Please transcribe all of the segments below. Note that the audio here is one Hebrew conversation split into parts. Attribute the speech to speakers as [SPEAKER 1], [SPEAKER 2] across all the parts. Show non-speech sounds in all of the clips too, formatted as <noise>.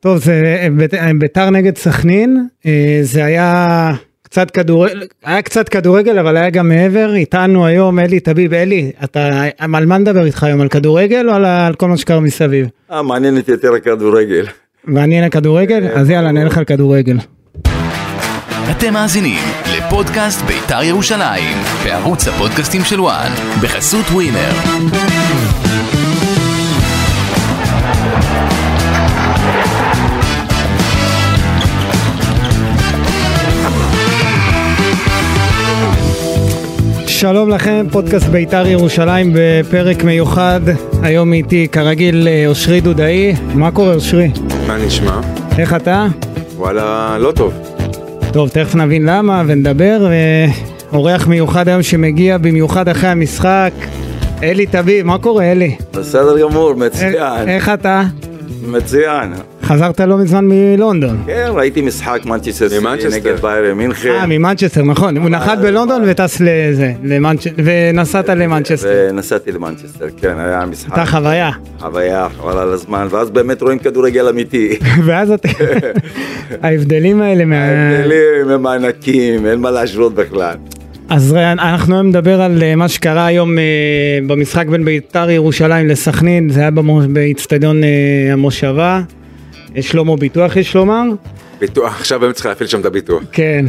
[SPEAKER 1] טוב, זה ביתר נגד סכנין, אה, זה היה קצת כדורגל, היה קצת כדורגל, אבל היה גם מעבר. איתנו היום אלי טביב, אלי, אתה, על מה נדבר איתך היום? על כדורגל או על, ה- על כל מה שקרה מסביב?
[SPEAKER 2] אה, מעניין אותי יותר הכדורגל.
[SPEAKER 1] מעניין הכדורגל? אז יאללה, נלך על כדורגל.
[SPEAKER 3] אתם מאזינים לפודקאסט בית"ר ירושלים, בערוץ הפודקאסטים של וואן, בחסות ווינר.
[SPEAKER 1] שלום לכם, פודקאסט בית"ר ירושלים בפרק מיוחד. היום איתי, כרגיל, אה, אושרי דודאי. מה קורה, אושרי?
[SPEAKER 2] מה נשמע?
[SPEAKER 1] איך אתה?
[SPEAKER 2] וואלה, לא טוב.
[SPEAKER 1] טוב, תכף נבין למה ונדבר. אה, אורח מיוחד היום שמגיע במיוחד אחרי המשחק. אלי טביב, מה קורה, אלי?
[SPEAKER 2] בסדר גמור,
[SPEAKER 1] אה,
[SPEAKER 2] מצוין.
[SPEAKER 1] איך אתה?
[SPEAKER 2] מצוין.
[SPEAKER 1] חזרת לא מזמן מלונדון.
[SPEAKER 2] כן, ראיתי משחק מנצ'סטר סיטי
[SPEAKER 4] ממנצ'סטר.
[SPEAKER 2] נגד ביירן מינכן.
[SPEAKER 1] אה, ממנצ'סטר, נכון. הוא
[SPEAKER 2] אה,
[SPEAKER 1] נחת בלונדון
[SPEAKER 2] נכון.
[SPEAKER 1] וטס לזה, למנצ'- ונסעת למנצ'סטר.
[SPEAKER 2] ונסעתי למנצ'סטר, כן, היה משחק.
[SPEAKER 1] הייתה
[SPEAKER 2] <laughs>
[SPEAKER 1] חוויה.
[SPEAKER 2] חוויה, חבל על הזמן, ואז באמת רואים כדורגל אמיתי.
[SPEAKER 1] ואז אתה... ההבדלים האלה מה...
[SPEAKER 2] כן. ההבדלים הם ענקים, אין מה להשוות בכלל.
[SPEAKER 1] אז ראה, אנחנו היום נדבר על אה, מה שקרה היום אה, במשחק בין בית"ר ירושלים לסכנין, זה היה במו- באיצטדיון אה, המושבה, אה, שלמה ביטוח יש לומר,
[SPEAKER 4] ביטוח, עכשיו באמת צריך להפעיל שם את הביטוח.
[SPEAKER 1] כן,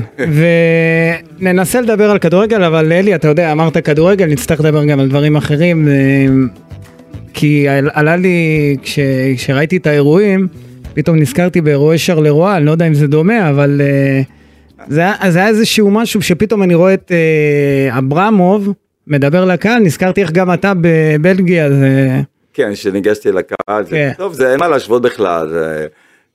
[SPEAKER 1] וננסה לדבר על כדורגל, אבל אלי, אתה יודע, אמרת כדורגל, נצטרך לדבר גם על דברים אחרים, אה, כי על- עלה לי, כש, כשראיתי את האירועים, פתאום נזכרתי באירועי שרלרואה, אני לא יודע אם זה דומה, אבל אה, זה, היה- זה היה איזשהו משהו שפתאום אני רואה את אה, אברמוב מדבר לקהל, נזכרתי איך גם אתה בבלגיה, זה...
[SPEAKER 2] כן, כשניגשתי לקהל, זה-
[SPEAKER 1] כן.
[SPEAKER 2] טוב, זה אין מה להשוות בכלל, זה-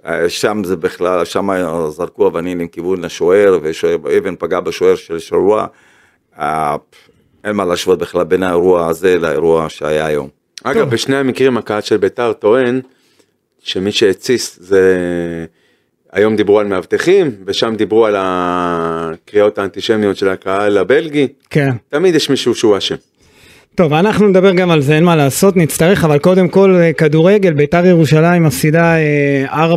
[SPEAKER 2] אה, שם זה בכלל, שם זרקו אבנים עם כיוון לשוער, ואבן פגע בשוער של שרוע, אה, אין מה להשוות בכלל בין האירוע הזה לאירוע שהיה היום.
[SPEAKER 4] אגב, בשני המקרים הקהל של ביתר טוען שמי שהתסיס זה... היום דיברו על מאבטחים, ושם דיברו על הקריאות האנטישמיות של הקהל הבלגי.
[SPEAKER 1] כן.
[SPEAKER 4] תמיד יש מישהו שהוא אשם.
[SPEAKER 1] טוב, אנחנו נדבר גם על זה, אין מה לעשות, נצטרך, אבל קודם כל אה, כדורגל, ביתר ירושלים מפסידה אה,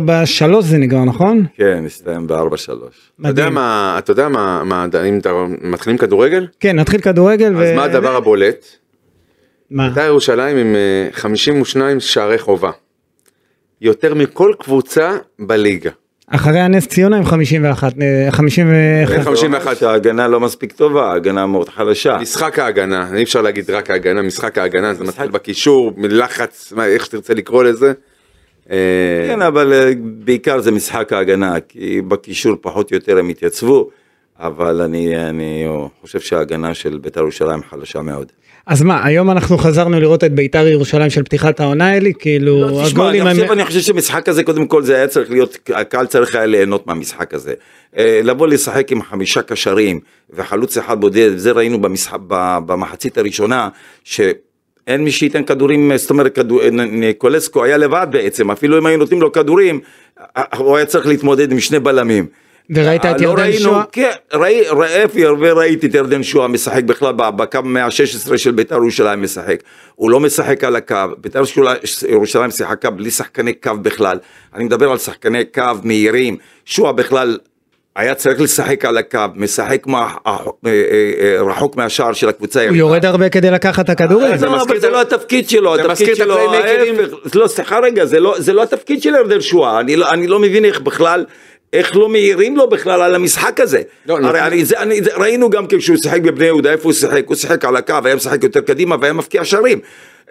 [SPEAKER 1] 4-3 זה נגמר, נכון?
[SPEAKER 2] כן, הסתיים בארבע שלוש.
[SPEAKER 4] אתה יודע מה, אתה יודע מה, מה- אם אתה מתחילים כדורגל?
[SPEAKER 1] כן, נתחיל כדורגל.
[SPEAKER 4] אז מה הדבר הבולט?
[SPEAKER 1] מה?
[SPEAKER 4] בית"ר ירושלים עם אה, 52 שערי חובה. יותר מכל קבוצה בליגה.
[SPEAKER 1] אחרי הנס ציונה עם 51, אה, 51.
[SPEAKER 4] 51.
[SPEAKER 2] לא שההגנה לא מספיק טובה, ההגנה מאוד חלשה.
[SPEAKER 4] משחק ההגנה, אי אפשר להגיד רק ההגנה, משחק ההגנה זה מתחיל בקישור, מלחץ, מה, איך שתרצה לקרוא לזה. אה,
[SPEAKER 2] כן, אבל אה, בעיקר זה משחק ההגנה, כי בקישור פחות או יותר הם התייצבו, אבל אני אני חושב שההגנה של בית"ר ירושלים חלשה מאוד.
[SPEAKER 1] אז מה, היום אנחנו חזרנו לראות את ביתר ירושלים של פתיחת העונה, אלי? כאילו,
[SPEAKER 2] לא, תשמע, אני
[SPEAKER 1] הגולים הם-
[SPEAKER 2] חושב, אני חושב שמשחק הזה קודם כל זה היה צריך להיות, הקהל צריך היה ליהנות מהמשחק הזה. אה, לבוא לשחק עם חמישה קשרים וחלוץ אחד בודד, זה ראינו במשחק, ב- במחצית הראשונה, שאין מי שייתן כדורים, אה, זאת אומרת, כדור, נ- נ- קולסקו היה לבד בעצם, אפילו אם היו נותנים לו כדורים, אה, הוא היה צריך להתמודד עם שני בלמים.
[SPEAKER 1] וראית את
[SPEAKER 2] לא
[SPEAKER 1] ירדן
[SPEAKER 2] ראינו-
[SPEAKER 1] שואה?
[SPEAKER 2] כן, ראי- ראי- אפי, וראיתי את ירדן שואה משחק בכלל ב- בקו 116 של בית"ר ירושלים משחק. הוא לא משחק על הקו, בית"ר ירושלים- ירושלים שיחקה בלי שחקני קו בכלל. אני מדבר על שחקני קו מהירים. שואה בכלל היה צריך לשחק על הקו, משחק מה- אה, אה, אה, רחוק מהשער של הקבוצה
[SPEAKER 1] הוא יורד הרבה כדי לקחת את הכדורים.
[SPEAKER 2] לא,
[SPEAKER 4] מזכיר
[SPEAKER 2] אבל
[SPEAKER 4] את
[SPEAKER 2] זה
[SPEAKER 4] ה-
[SPEAKER 2] לא התפקיד שלו,
[SPEAKER 4] זה
[SPEAKER 2] התפקיד
[SPEAKER 4] מזכיר את
[SPEAKER 2] שלו,
[SPEAKER 4] הפליימקרים.
[SPEAKER 2] ההפך, לא סליחה רגע, זה לא- זה לא התפקיד של ירדן שואה, אני לא- אני לא מבין איך בכלל, איך לא מעירים לו בכלל על המשחק הזה.
[SPEAKER 4] לא,
[SPEAKER 2] הרי
[SPEAKER 4] לא.
[SPEAKER 2] אני- זה- אני- זה- ראינו גם כן כשהוא שיחק בבני יהודה, איפה הוא שיחק, הוא שיחק על הקו, היה משחק יותר קדימה והיה מפקיע שערים.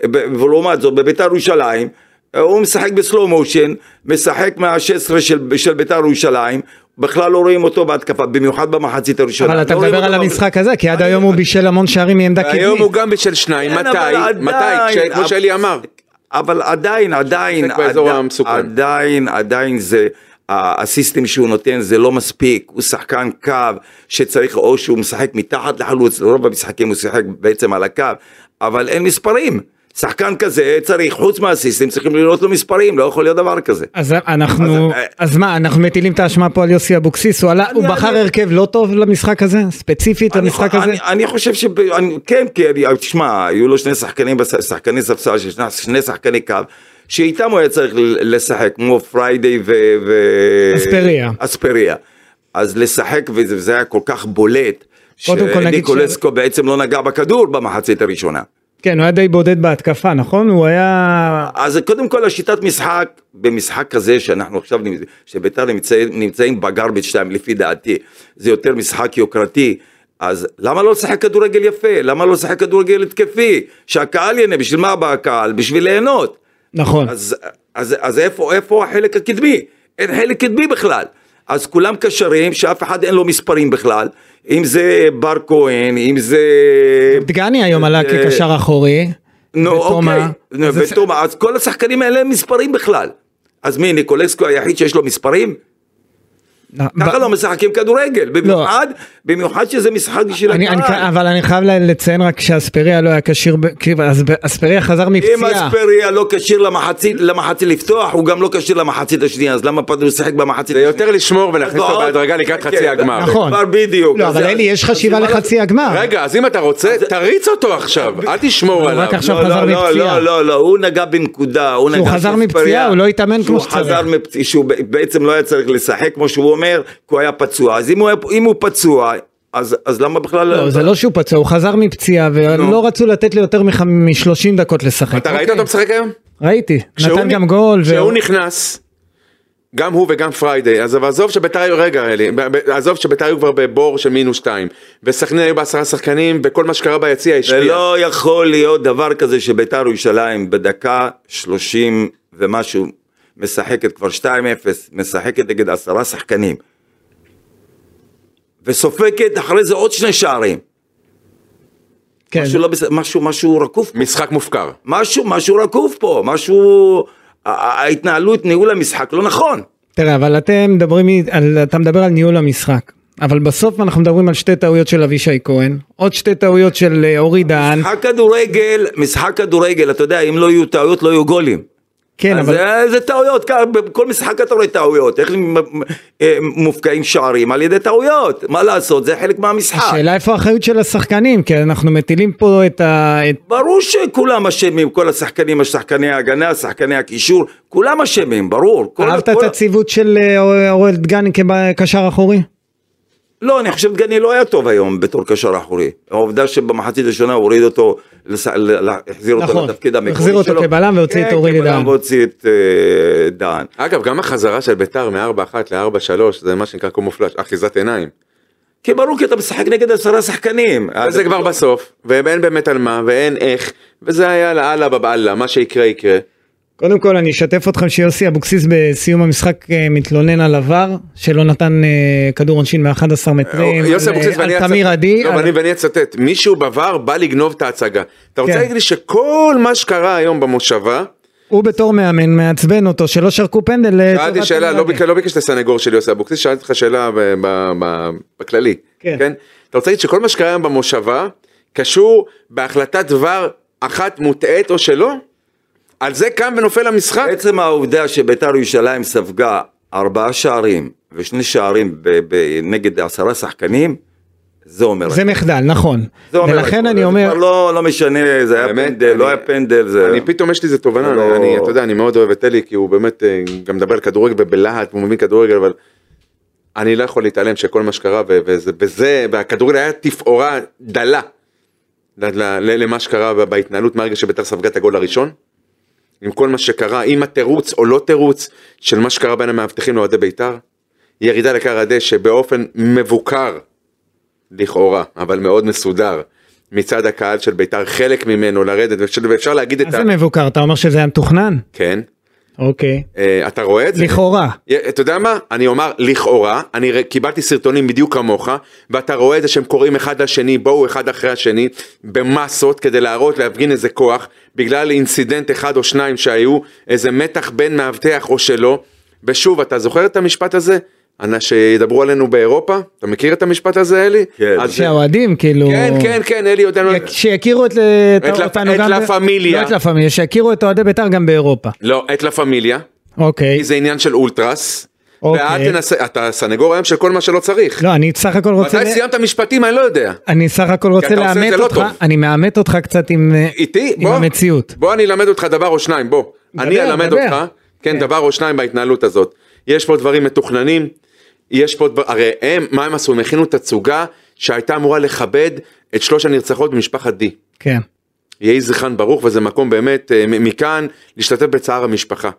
[SPEAKER 2] ב- ולעומת זאת, בביתר ירושלים, אה, הוא משחק בסלואו מושן, משחק מה-16 של, של ביתר ירושלים, בכלל לא רואים אותו בהתקפה, במיוחד במחצית הראשונה.
[SPEAKER 1] אבל אתה
[SPEAKER 2] לא רואים
[SPEAKER 1] מדבר
[SPEAKER 2] אותו
[SPEAKER 1] על
[SPEAKER 2] ב-
[SPEAKER 1] המשחק הזה, כי עד היום הוא בישל המון שערים מעמדה
[SPEAKER 4] היום
[SPEAKER 1] קדמית.
[SPEAKER 4] הוא גם בשל שניים,
[SPEAKER 2] כן,
[SPEAKER 4] מתי?
[SPEAKER 2] אבל עדיין-
[SPEAKER 4] מתי? כש- כמו שאלי אמר.
[SPEAKER 2] אבל עדיין, עדיין,
[SPEAKER 4] משחק באזור
[SPEAKER 2] עדיין-
[SPEAKER 4] המסוכן.
[SPEAKER 2] עדיין, עדיין זה, הסיסטם שהוא נותן זה לא מספיק, הוא שחקן קו שצריך או שהוא משחק מתחת לחלוץ, רוב המשחקים הוא שיחק בעצם על הקו, אבל אין מספרים. שחקן כזה צריך, חוץ מהסיסטים, צריכים לראות לו מספרים, לא יכול להיות דבר כזה.
[SPEAKER 1] אז אנחנו,
[SPEAKER 2] אז, אה,
[SPEAKER 1] אז מה, אנחנו מטילים את האשמה פה על יוסי אבוקסיס, הוא עלה- הוא
[SPEAKER 2] אני-
[SPEAKER 1] בחר הרכב לא טוב למשחק הזה? ספציפית למשחק הזה?
[SPEAKER 2] אני, אני חושב שב... אני, כן, כי אני... תשמע, היו לו שני שחקנים, בס- שחקני ספסל, שני- שני שחקני קו, שאיתם הוא היה צריך ל- לשחק, כמו פריידי ו... ו...
[SPEAKER 1] אספריה.
[SPEAKER 2] אספריה. אז לשחק, וזה וזה היה כל כך בולט,
[SPEAKER 1] קודם כל נגיד
[SPEAKER 2] שניקולסקו בעצם לא נגע בכדור במחצית הראשונה.
[SPEAKER 1] כן, הוא היה די בודד בהתקפה, נכון? הוא היה...
[SPEAKER 2] אז קודם כל השיטת משחק במשחק כזה שאנחנו עכשיו נמצאים, שביתר נמצאים, נמצאים בגרבג' 2 לפי דעתי, זה יותר משחק יוקרתי, אז למה לא לשחק כדורגל יפה? למה לא לשחק כדורגל התקפי? שהקהל ייהנה, בשביל מה בא הקהל? בשביל ליהנות.
[SPEAKER 1] נכון.
[SPEAKER 2] אז, אז, אז איפה, איפה החלק הקדמי? אין חלק קדמי בכלל. אז כולם קשרים שאף אחד אין לו מספרים בכלל, אם זה בר כהן, אם זה...
[SPEAKER 1] דגני היום עלה
[SPEAKER 2] אה,
[SPEAKER 1] כקשר אחורי.
[SPEAKER 2] נו
[SPEAKER 1] ותומה.
[SPEAKER 2] אוקיי, נו,
[SPEAKER 1] אז זה-
[SPEAKER 2] ותומה, אז כל השחקנים האלה הם מספרים בכלל. אז מי, ניקולסקו היחיד שיש לו מספרים?
[SPEAKER 1] לא,
[SPEAKER 2] ככה
[SPEAKER 1] ב-
[SPEAKER 2] לא משחקים כדורגל, במיוחד, במיוחד שזה משחק בשביל
[SPEAKER 1] אני- אני חי-
[SPEAKER 2] הקהל.
[SPEAKER 1] אבל אני חייב ל- לציין רק שאספריה לא היה כשיר, ב- כי אס- אספריה חזר
[SPEAKER 2] אם
[SPEAKER 1] מפציעה.
[SPEAKER 2] אספריה לא כשיר למחצית, למחצית לפתוח, הוא גם לא כשיר למחצית השנייה, אז למה פתאום לשחק במחצית
[SPEAKER 4] זה
[SPEAKER 2] השנייה?
[SPEAKER 4] יותר לשמור ולהכניס אותו
[SPEAKER 2] ועוד-
[SPEAKER 4] בהדרגה לקראת
[SPEAKER 2] כן,
[SPEAKER 4] חצי הגמר.
[SPEAKER 1] נכון.
[SPEAKER 2] כבר בדיוק.
[SPEAKER 1] לא,
[SPEAKER 2] אז
[SPEAKER 1] אבל
[SPEAKER 2] זה-
[SPEAKER 1] אלי, יש
[SPEAKER 2] אז
[SPEAKER 1] חשיבה
[SPEAKER 2] זה-
[SPEAKER 1] לחצי הגמר.
[SPEAKER 4] רגע, אז אם אתה רוצה, תריץ אותו עכשיו, אל תשמור עליו.
[SPEAKER 1] רק עכשיו
[SPEAKER 2] לא,
[SPEAKER 1] חזר
[SPEAKER 2] לא,
[SPEAKER 1] מפציעה.
[SPEAKER 2] לא, לא, לא, הוא נגע בנקודה, הוא נגע...
[SPEAKER 1] שהוא חזר
[SPEAKER 2] שהספריה-
[SPEAKER 1] מפציעה, הוא לא התאמן כמו שצריך.
[SPEAKER 2] שהוא חזר מפציעה, שהוא ב- בעצם לא היה צריך לשחק, כמו שהוא אומר, כי הוא היה פצוע. אז אם הוא היה- אם הוא פצוע, אז אז למה בכלל...
[SPEAKER 1] לא, זה לא שהוא פצוע, הוא חזר מפציעה, ולא רצו לתת לי יותר מ-30 דקות לשחק.
[SPEAKER 4] אתה ראית
[SPEAKER 1] אוקיי.
[SPEAKER 4] אותו משחק היום?
[SPEAKER 1] ראיתי,
[SPEAKER 4] כשהוא
[SPEAKER 1] נתן
[SPEAKER 4] נ-
[SPEAKER 1] גם גול. ו-
[SPEAKER 4] כשהוא נכנס, גם הוא וגם פריידי, אז אבל עזוב שביתר היו, רגע אלי, ב- ב- עזוב שביתר היו כבר בבור של מינוס שתיים, וסכנין היו בעשרה שחקנים, וכל מה שקרה ביציע
[SPEAKER 2] זה
[SPEAKER 4] השפיע.
[SPEAKER 2] לא יכול להיות דבר כזה שביתר ירושלים בדקה 30 ומשהו משחקת כבר 2-0, משחקת נגד עשרה שחקנים. וסופגת אחרי זה עוד שני שערים.
[SPEAKER 1] כן.
[SPEAKER 2] משהו, לא בס... משהו, משהו רקוב פה.
[SPEAKER 4] משחק מופקר.
[SPEAKER 2] משהו, משהו רקוב פה, משהו... ה- ה- ההתנהלות, ניהול המשחק לא נכון.
[SPEAKER 1] תראה, אבל אתם מדברים, אי- על, אתה מדבר על ניהול המשחק. אבל בסוף אנחנו מדברים על שתי טעויות של אבישי כהן, עוד שתי טעויות של אה, אורי דהן.
[SPEAKER 2] משחק כדורגל, משחק כדורגל, אתה יודע, אם לא יהיו טעויות לא יהיו גולים.
[SPEAKER 1] כן,
[SPEAKER 2] אז
[SPEAKER 1] אבל...
[SPEAKER 2] זה- זה טעויות, כ- בכל משחק אתה רואה טעויות, איך מ- מ- אה, מופקעים שערים על ידי טעויות, מה לעשות, זה חלק מהמשחק.
[SPEAKER 1] השאלה איפה האחריות של השחקנים, כי אנחנו מטילים פה את ה... את...
[SPEAKER 2] ברור שכולם אשמים, כל השחקנים, שחקני ההגנה, שחקני הקישור, כולם אשמים, ברור. כל-
[SPEAKER 1] אהבת
[SPEAKER 2] כל-
[SPEAKER 1] את הציוות של אה, אורל דגני כקשר אחורי?
[SPEAKER 2] לא, אני חושב דגני לא היה טוב היום בתור קשר אחורי. העובדה שבמחצית הראשונה הוא הוריד אותו, לס- ל- ל- החזיר
[SPEAKER 1] נכון,
[SPEAKER 2] אותו לתפקיד המקורי שלו.
[SPEAKER 1] החזיר אותו כבלם והוציא את
[SPEAKER 2] כן,
[SPEAKER 1] אורי
[SPEAKER 2] כבלם
[SPEAKER 1] דהן.
[SPEAKER 2] והוציא את אה, דהן.
[SPEAKER 4] אגב, גם החזרה של ביתר מ-4-1 ל-4-3 זה מה שנקרא קומופלאז', אחיזת עיניים.
[SPEAKER 2] כי ברור כי אתה משחק נגד עשרה שחקנים. אז
[SPEAKER 4] וזה כבר בסוף, ואין באמת על מה, ואין איך, וזה היה לאללה בבאללה, מה שיקרה יקרה.
[SPEAKER 1] קודם כל אני אשתף אתכם שיוסי אבוקסיס בסיום המשחק אה, מתלונן על עבר שלא נתן אה, כדור עונשין מ-11 מטרים,
[SPEAKER 4] אה, יוסי
[SPEAKER 1] על-
[SPEAKER 4] אבוקסיס ואני
[SPEAKER 1] אה, על
[SPEAKER 4] אצט-
[SPEAKER 1] תמיר עדי,
[SPEAKER 4] לא,
[SPEAKER 1] על-
[SPEAKER 4] ואני- ואני אצטט, מישהו בעבר בא לגנוב את ההצגה. אתה רוצה
[SPEAKER 1] כן.
[SPEAKER 4] להגיד לי שכל מה שקרה היום במושבה,
[SPEAKER 1] הוא בתור מאמן מעצבן אותו שלא שרקו פנדל לטובת
[SPEAKER 4] שאלתי שאלה,
[SPEAKER 1] תמיר
[SPEAKER 4] לא
[SPEAKER 1] עדי.
[SPEAKER 4] ביקש- לא ביקשת סנגור של יוסי אבוקסיס, שאלתי אותך שאלה ב- ב- ב- בכללי,
[SPEAKER 1] כן.
[SPEAKER 4] כן? אתה רוצה להגיד שכל מה שקרה היום במושבה קשור בהחלטת דבר אחת מוטעית או שלא? על זה קם ונופל המשחק?
[SPEAKER 2] עצם העובדה שביתר ירושלים ספגה ארבעה שערים ושני שערים ב- ב- נגד עשרה שחקנים, זה אומר.
[SPEAKER 1] זה מחדל נכון,
[SPEAKER 2] זה אומר
[SPEAKER 1] ולכן
[SPEAKER 2] הכל.
[SPEAKER 1] אני
[SPEAKER 2] זה
[SPEAKER 1] אומר,
[SPEAKER 2] כבר לא, לא משנה, זה היה
[SPEAKER 4] באמת,
[SPEAKER 2] פנדל, לא
[SPEAKER 4] אני-
[SPEAKER 2] היה פנדל, זה...
[SPEAKER 4] אני פתאום יש לי איזה תובנה,
[SPEAKER 2] זה לא-
[SPEAKER 4] אני, אני, אתה יודע, אני מאוד אוהב את אלי, כי הוא באמת אה, גם מדבר על כדורגל ובלהט, הוא מבין כדורגל, אבל אני לא יכול להתעלם שכל מה שקרה, ו- וזה, וזה, והכדורגל היה תפאורה דלה ל- ל- ל- למה שקרה ב- בהתנהלות מהרגע שביתר ספגה את הגול הראשון, עם כל מה שקרה, עם התירוץ או לא תירוץ של מה שקרה בין המאבטחים לאוהדי ביתר, ירידה לקר הדשא באופן מבוקר, לכאורה, אבל מאוד מסודר. מצד הקהל של ביתר חלק ממנו לרדת ואפשר- ואפשר להגיד את
[SPEAKER 1] אז זה מבוקר אתה אומר שזה היה מתוכנן?
[SPEAKER 4] כן.
[SPEAKER 1] אוקיי,
[SPEAKER 4] אה, אתה רואה את זה?
[SPEAKER 1] לכאורה,
[SPEAKER 4] י- אתה יודע מה? אני אומר לכאורה, אני ר- קיבלתי סרטונים בדיוק כמוך, ואתה רואה את זה שהם קוראים אחד לשני, בואו אחד אחרי השני, במסות, כדי להראות, להפגין איזה כוח, בגלל אינסידנט אחד או שניים שהיו, איזה מתח בין מאבטח או שלא, ושוב, אתה זוכר את המשפט הזה? אנ- שידברו עלינו באירופה, אתה מכיר את המשפט הזה אלי?
[SPEAKER 2] כן.
[SPEAKER 4] אז-
[SPEAKER 1] שהאוהדים כאילו...
[SPEAKER 4] כן, כן, כן, אלי יודע,
[SPEAKER 1] יק- שיכירו את את
[SPEAKER 4] לה-
[SPEAKER 1] אותנו
[SPEAKER 4] את
[SPEAKER 1] גם...
[SPEAKER 4] לה
[SPEAKER 1] ב-
[SPEAKER 4] פמיליה.
[SPEAKER 1] לא את לה פמיליה, שיכירו את אוהדי בית"ר גם באירופה.
[SPEAKER 4] לא, את לה פמיליה,
[SPEAKER 1] אוקיי.
[SPEAKER 4] כי זה עניין של אולטרס,
[SPEAKER 1] אוקיי.
[SPEAKER 4] ואת תנסה, אתה סנגור היום של כל מה שלא צריך.
[SPEAKER 1] לא, אני סך הכל רוצה...
[SPEAKER 4] מתי
[SPEAKER 1] ל-
[SPEAKER 4] סיימת משפטים אני לא יודע.
[SPEAKER 1] אני סך הכל
[SPEAKER 4] אתה
[SPEAKER 1] רוצה
[SPEAKER 4] עושה את
[SPEAKER 1] לאמת
[SPEAKER 4] זה לא
[SPEAKER 1] אותך,
[SPEAKER 4] טוב.
[SPEAKER 1] אני מאמת אותך קצת עם... אה,
[SPEAKER 4] איתי?
[SPEAKER 1] עם המציאות.
[SPEAKER 4] בוא אני אלמד אותך דבר או שניים, בוא.
[SPEAKER 1] דבר,
[SPEAKER 4] אני אלמד
[SPEAKER 1] דבר.
[SPEAKER 4] אותך, כן, דבר או שניים בהתנהלות הזאת. יש פה דברים מתוכננים, יש פה דבר, הרי הם, מה הם עשו? הם הכינו תצוגה שהייתה אמורה לכבד את שלוש הנרצחות במשפחת די.
[SPEAKER 1] כן.
[SPEAKER 4] יהי זכרן ברוך וזה מקום באמת אה, מ- מכאן להשתתף בצער המשפחה.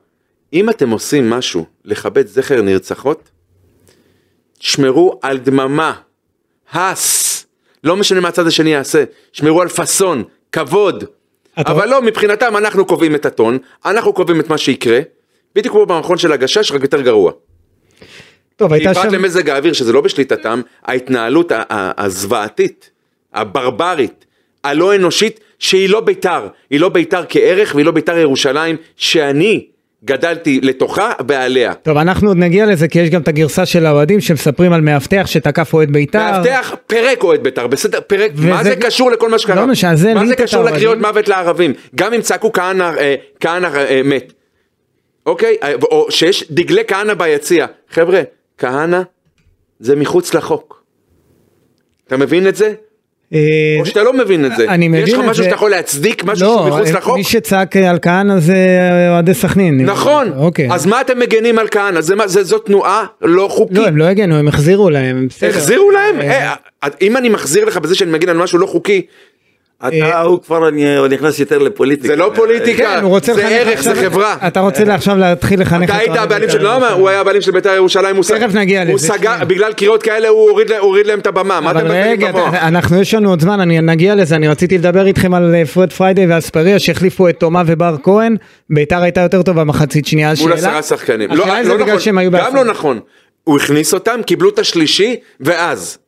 [SPEAKER 4] אם אתם עושים משהו לכבד זכר נרצחות, שמרו על דממה, הס, לא משנה מה הצד השני יעשה, שמרו על פאסון, כבוד.
[SPEAKER 1] אתה-
[SPEAKER 4] אבל לא, מבחינתם אנחנו קובעים את הטון, אנחנו קובעים את מה שיקרה, בדיוק כמו במכון של הגשש, רק יותר גרוע.
[SPEAKER 1] טוב,
[SPEAKER 4] כי
[SPEAKER 1] הייתה
[SPEAKER 4] פרט
[SPEAKER 1] שם...
[SPEAKER 4] למזג האוויר, שזה לא בשליטתם, ההתנהלות ה- ה- הזוועתית, הברברית, הלא אנושית, שהיא לא בית"ר. היא לא בית"ר כערך והיא לא בית"ר ירושלים, שאני גדלתי לתוכה ועליה.
[SPEAKER 1] טוב, אנחנו עוד נגיע לזה, כי יש גם את הגרסה של האוהדים שמספרים על מאבטח שתקף אוהד בית"ר.
[SPEAKER 4] מאבטח פירק אוהד בית"ר, בסדר, פירק,
[SPEAKER 1] וזה-
[SPEAKER 4] מה זה קשור לכל מה שקרה?
[SPEAKER 1] לא משנה, זה
[SPEAKER 4] מה
[SPEAKER 1] ליטא
[SPEAKER 4] זה
[SPEAKER 1] את
[SPEAKER 4] קשור
[SPEAKER 1] האוהדים.
[SPEAKER 4] לקריאות מוות לערבים? גם אם צעקו כהנא אה, כהנא, אה, מת, אוקיי? אה, או שיש דגלי כהנא ביציע. חבר'ה, כהנא זה מחוץ לחוק. אתה מבין את זה?
[SPEAKER 1] אה,
[SPEAKER 4] או שאתה לא מבין את זה.
[SPEAKER 1] אני מבין
[SPEAKER 4] יש לך
[SPEAKER 1] את
[SPEAKER 4] משהו
[SPEAKER 1] זה.
[SPEAKER 4] שאתה יכול להצדיק, משהו
[SPEAKER 1] לא,
[SPEAKER 4] שהוא מחוץ לחוק?
[SPEAKER 1] מי שצעק אה, על כהנא זה אה, אוהדי סכנין.
[SPEAKER 4] נכון,
[SPEAKER 1] אוקיי.
[SPEAKER 4] אז מה אתם מגנים על כהנא? זה מה- זה- זו תנועה לא חוקית.
[SPEAKER 1] לא, הם לא הגנו, הם החזירו להם. בסדר.
[SPEAKER 4] החזירו להם? אה, אם אני מחזיר לך בזה שאני מגן על משהו לא חוקי,
[SPEAKER 1] אה,
[SPEAKER 2] אתה הוא כבר אני- נכנס יותר לפוליטיקה.
[SPEAKER 4] זה לא פוליטיקה,
[SPEAKER 1] כן, הוא רוצה
[SPEAKER 4] זה
[SPEAKER 1] לחנך
[SPEAKER 4] ערך, זה
[SPEAKER 1] עכשיו-
[SPEAKER 4] חברה. אה,
[SPEAKER 1] אתה רוצה עכשיו להתחיל לחנך
[SPEAKER 4] אתה היית
[SPEAKER 1] אוהדי
[SPEAKER 4] הבעלים
[SPEAKER 1] בית"ר.
[SPEAKER 4] של, לא, מה, הוא היה הבעלים של בית"ר ירושלים, הוא
[SPEAKER 1] תכף נגיע
[SPEAKER 4] הוא
[SPEAKER 1] לזה,
[SPEAKER 4] סגר,
[SPEAKER 1] שנייה.
[SPEAKER 4] בגלל קריאות כאלה הוא הוריד לה- הוריד להם את הבמה, מה אתם
[SPEAKER 1] אבל
[SPEAKER 4] מבלבלים
[SPEAKER 1] רגע,
[SPEAKER 4] במוח?
[SPEAKER 1] אתה- אנחנו יש לנו עוד זמן, אני נגיע לזה, אני רציתי לדבר איתכם על אה, פרד פריידי ואספריה שהחליפו את תומה ובר כהן, ביתר הייתה יותר טובה מחצית שנייה,
[SPEAKER 4] מול
[SPEAKER 1] השאלה,
[SPEAKER 4] עשרה שחקנים. לא,
[SPEAKER 1] השאלה אם זה
[SPEAKER 4] לא
[SPEAKER 1] בגלל
[SPEAKER 4] נכון,
[SPEAKER 1] שהם היו
[SPEAKER 4] גם
[SPEAKER 1] בעשרה.
[SPEAKER 4] לא נכון. הוא הכניס אותם, קיבלו את השלישי, ואז.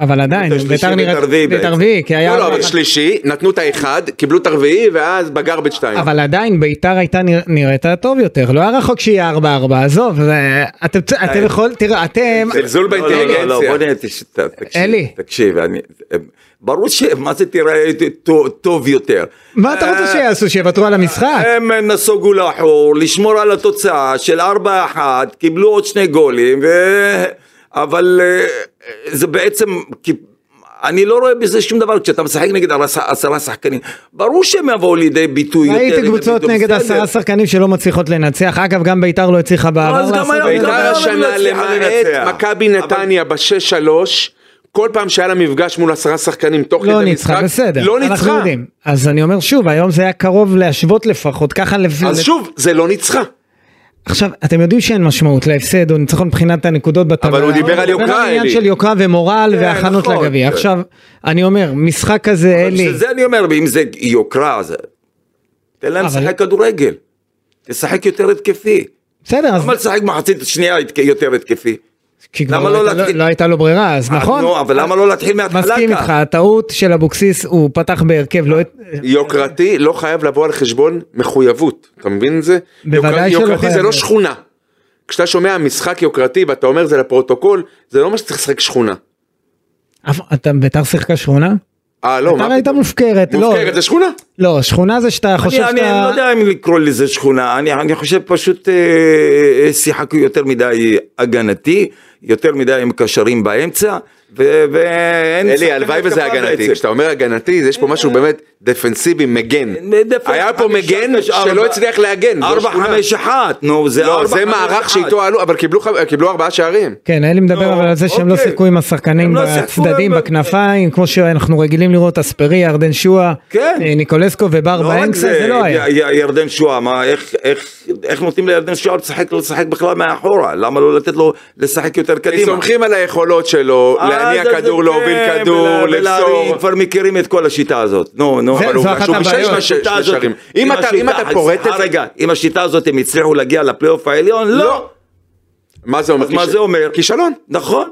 [SPEAKER 1] אבל עדיין,
[SPEAKER 2] ביתר שלישי,
[SPEAKER 1] ביתר נראית,
[SPEAKER 2] ביתר רביעי
[SPEAKER 1] ביתר
[SPEAKER 2] בעצם.
[SPEAKER 1] רביעי, כי היה,
[SPEAKER 4] לא, לא, אבל שלישי, נתנו את האחד, קיבלו את הרביעי, ואז בגרבג' 2.
[SPEAKER 1] אבל עדיין ביתר הייתה נרא- נראתה טוב יותר, לא היה רחוק שיהיה 4-4, עזוב, זה- אתם צ- אתם יכול, תראה, אתם,
[SPEAKER 4] זלזול
[SPEAKER 2] לא, לא, לא,
[SPEAKER 4] באינטליגנציה.
[SPEAKER 2] לא, בוא נהיה, תש- ת- תקשיב,
[SPEAKER 1] אלי.
[SPEAKER 2] תקשיב, אני- ברור שמה זה תראה טוב- טוב יותר.
[SPEAKER 1] מה אתה רוצה
[SPEAKER 2] אה,
[SPEAKER 1] שיעשו, שיוותרו על המשחק?
[SPEAKER 2] הם נסוגו לאחור, לשמור על התוצאה של 4-1, קיבלו עוד שני גולים, ו... אבל אה, זה בעצם, כי- אני לא רואה בזה שום דבר, כשאתה משחק נגד עשרה- עשרה שחקנים, ברור שהם יבואו לידי ביטוי יותר.
[SPEAKER 1] ראיתי
[SPEAKER 2] לידי
[SPEAKER 1] קבוצות
[SPEAKER 2] ביטוי,
[SPEAKER 1] נגד
[SPEAKER 2] אה, בסדר.
[SPEAKER 1] עשרה שחקנים שלא מצליחו לנצח, אגב גם ביתר לא הצליחה בעבר
[SPEAKER 2] אז גם
[SPEAKER 1] לעשות
[SPEAKER 2] היום-
[SPEAKER 1] את זה.
[SPEAKER 4] בית"ר
[SPEAKER 2] גם היום הם לא
[SPEAKER 4] השנה
[SPEAKER 2] הצליחו
[SPEAKER 4] למעט
[SPEAKER 2] לנצח.
[SPEAKER 4] מכבי נתניה ב-6-3, כל פעם שהיה לה מפגש מול עשרה שחקנים תוך
[SPEAKER 1] לא
[SPEAKER 4] כדי
[SPEAKER 1] ניצחה,
[SPEAKER 4] משחק,
[SPEAKER 1] בסדר.
[SPEAKER 4] לא
[SPEAKER 1] אנחנו
[SPEAKER 4] ניצחה.
[SPEAKER 1] יודעים. אז אני אומר שוב, היום זה היה קרוב להשוות לפחות, ככה לפ...
[SPEAKER 4] אז שוב, זה לא ניצחה.
[SPEAKER 1] עכשיו, אתם יודעים שאין משמעות להפסד או ניצחון מבחינת הנקודות בטבלה.
[SPEAKER 4] אבל הוא דיבר על יוקרה,
[SPEAKER 1] עניין
[SPEAKER 4] אלי.
[SPEAKER 1] של יוקרה ומורל
[SPEAKER 2] כן,
[SPEAKER 1] והכנות
[SPEAKER 2] נכון.
[SPEAKER 1] לגביע.
[SPEAKER 2] כן.
[SPEAKER 1] עכשיו, אני אומר, משחק כזה, אלי,
[SPEAKER 2] זה אני אומר, אם זה יוקרה, אז תן להם
[SPEAKER 1] אבל-
[SPEAKER 2] לשחק כדורגל. תשחק יותר התקפי.
[SPEAKER 1] בסדר, אז
[SPEAKER 2] למה לשחק מחצית שנייה התק- יותר התקפי?
[SPEAKER 1] כי כבר
[SPEAKER 2] למה
[SPEAKER 1] לא
[SPEAKER 2] לא
[SPEAKER 1] הייתה-
[SPEAKER 2] להתחיל- אה,
[SPEAKER 1] לא הייתה לו ברירה, אז נכון.
[SPEAKER 2] נו, אבל למה לא להתחיל מההתחלה
[SPEAKER 1] מסכים
[SPEAKER 2] כך?
[SPEAKER 1] איתך, הטעות של אבוקסיס, הוא פתח בהרכב, לא... את-
[SPEAKER 4] יוקרתי לא חייב לבוא על חשבון מחויבות, אתה מבין את זה?
[SPEAKER 1] בוודאי
[SPEAKER 4] יוקר-
[SPEAKER 1] שלא
[SPEAKER 4] יוקרתי זה
[SPEAKER 1] חייב.
[SPEAKER 4] לא שכונה. כשאתה שומע משחק יוקרתי ואתה אומר זה לפרוטוקול, זה לא אומר שצריך לשחק שכונה.
[SPEAKER 1] אף- אתה ביתר שיחקה שכונה?
[SPEAKER 4] אה לא,
[SPEAKER 1] ביתר
[SPEAKER 4] מה?
[SPEAKER 1] הייתה מופקרת, לא.
[SPEAKER 4] מופקרת זה שכונה.
[SPEAKER 1] לא, שכונה זה שאתה חושב
[SPEAKER 2] אני, אני לא
[SPEAKER 1] שאתה...
[SPEAKER 2] יודע אם לקרוא לזה שכונה, אני, אני חושב פשוט אה, אה, שיחקו יותר מדי הגנתי, יותר מדי עם קשרים באמצע, ו- ואין...
[SPEAKER 4] אלי, הלוואי וזה הגנתי. כשאתה אומר הגנתי, אז יש פה משהו באמת דפנסיבי, מגן. היה פה מגן שלא הצליח להגן. זו
[SPEAKER 2] ארבע,
[SPEAKER 4] שכונה.
[SPEAKER 2] חמש, אחת, נו, זה
[SPEAKER 4] לא,
[SPEAKER 2] ארבע,
[SPEAKER 4] זה
[SPEAKER 2] חמש,
[SPEAKER 4] מערך
[SPEAKER 2] אחת.
[SPEAKER 4] שאיתו עלו, אבל קיבלו ח- קיבלו ארבעה שערים.
[SPEAKER 1] כן, אלי מדבר
[SPEAKER 2] לא,
[SPEAKER 1] אבל על זה שהם לא
[SPEAKER 2] אוקיי.
[SPEAKER 1] שיחקו עם השחקנים
[SPEAKER 2] הם לא שיחקו,
[SPEAKER 1] בצדדים,
[SPEAKER 2] הם-
[SPEAKER 1] בכנפיים, כמו שאנחנו רגילים לראות, אספרי, ירדן שואה,
[SPEAKER 2] כן.
[SPEAKER 1] אה, ניקולסקו ובר
[SPEAKER 2] לא רק
[SPEAKER 1] באמצע,
[SPEAKER 2] זה,
[SPEAKER 1] זה לא היה.
[SPEAKER 2] י- י- ירדן שועה, מה, איך- איך- איך נותנים לירדן שועה לשחק, לשחק בכלל מאחורה? למה לא לתת לו לשחק יותר
[SPEAKER 4] כי
[SPEAKER 2] קדימה?
[SPEAKER 4] סומכים על היכולות שלו,
[SPEAKER 2] אה, זה-
[SPEAKER 4] להניע
[SPEAKER 2] זה-
[SPEAKER 4] כדור,
[SPEAKER 2] כן,
[SPEAKER 4] להוביל כדור,
[SPEAKER 2] ולה- ולהרים,
[SPEAKER 4] לבשור.
[SPEAKER 2] כבר מכירים את כל השיטה הזאת. נו, נו,
[SPEAKER 1] זה-
[SPEAKER 2] אבל
[SPEAKER 1] זו
[SPEAKER 2] הוא-
[SPEAKER 1] אחת
[SPEAKER 2] שהוא
[SPEAKER 1] הבעיות.
[SPEAKER 2] משתמש בשיטה
[SPEAKER 4] שני
[SPEAKER 2] הזאת.
[SPEAKER 4] שערים. אם אתה- אם
[SPEAKER 2] השיטה-
[SPEAKER 4] אתה פורט את
[SPEAKER 2] סליחה
[SPEAKER 4] זה-
[SPEAKER 2] רגע, אם השיטה הזאת הם הצליחו להגיע לפלייאוף העליון? לא.
[SPEAKER 4] מה זה אומר?
[SPEAKER 2] אז מה
[SPEAKER 4] כיש-
[SPEAKER 2] זה אומר?
[SPEAKER 4] כישלון.
[SPEAKER 2] נכון.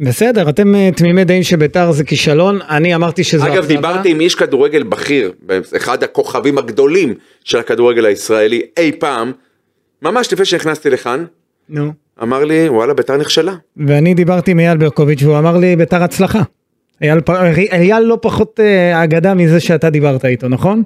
[SPEAKER 1] בסדר, אתם אה, תמימי דעים שביתר זה כישלון, אני אמרתי שזו
[SPEAKER 4] אגב, דיברתי עם איש כדורגל בכיר, אחד הכוכבים הגדולים של הכדורגל הישראלי אי פעם, ממש לפני שנכנסתי לכאן,
[SPEAKER 1] נו.
[SPEAKER 4] אמר לי, וואלה, ביתר נכשלה.
[SPEAKER 1] ואני דיברתי עם אייל ברקוביץ' והוא אמר לי ביתר הצלחה. אייל, פ- אייל לא פחות אה, אגדה מזה שאתה דיברת איתו, נכון?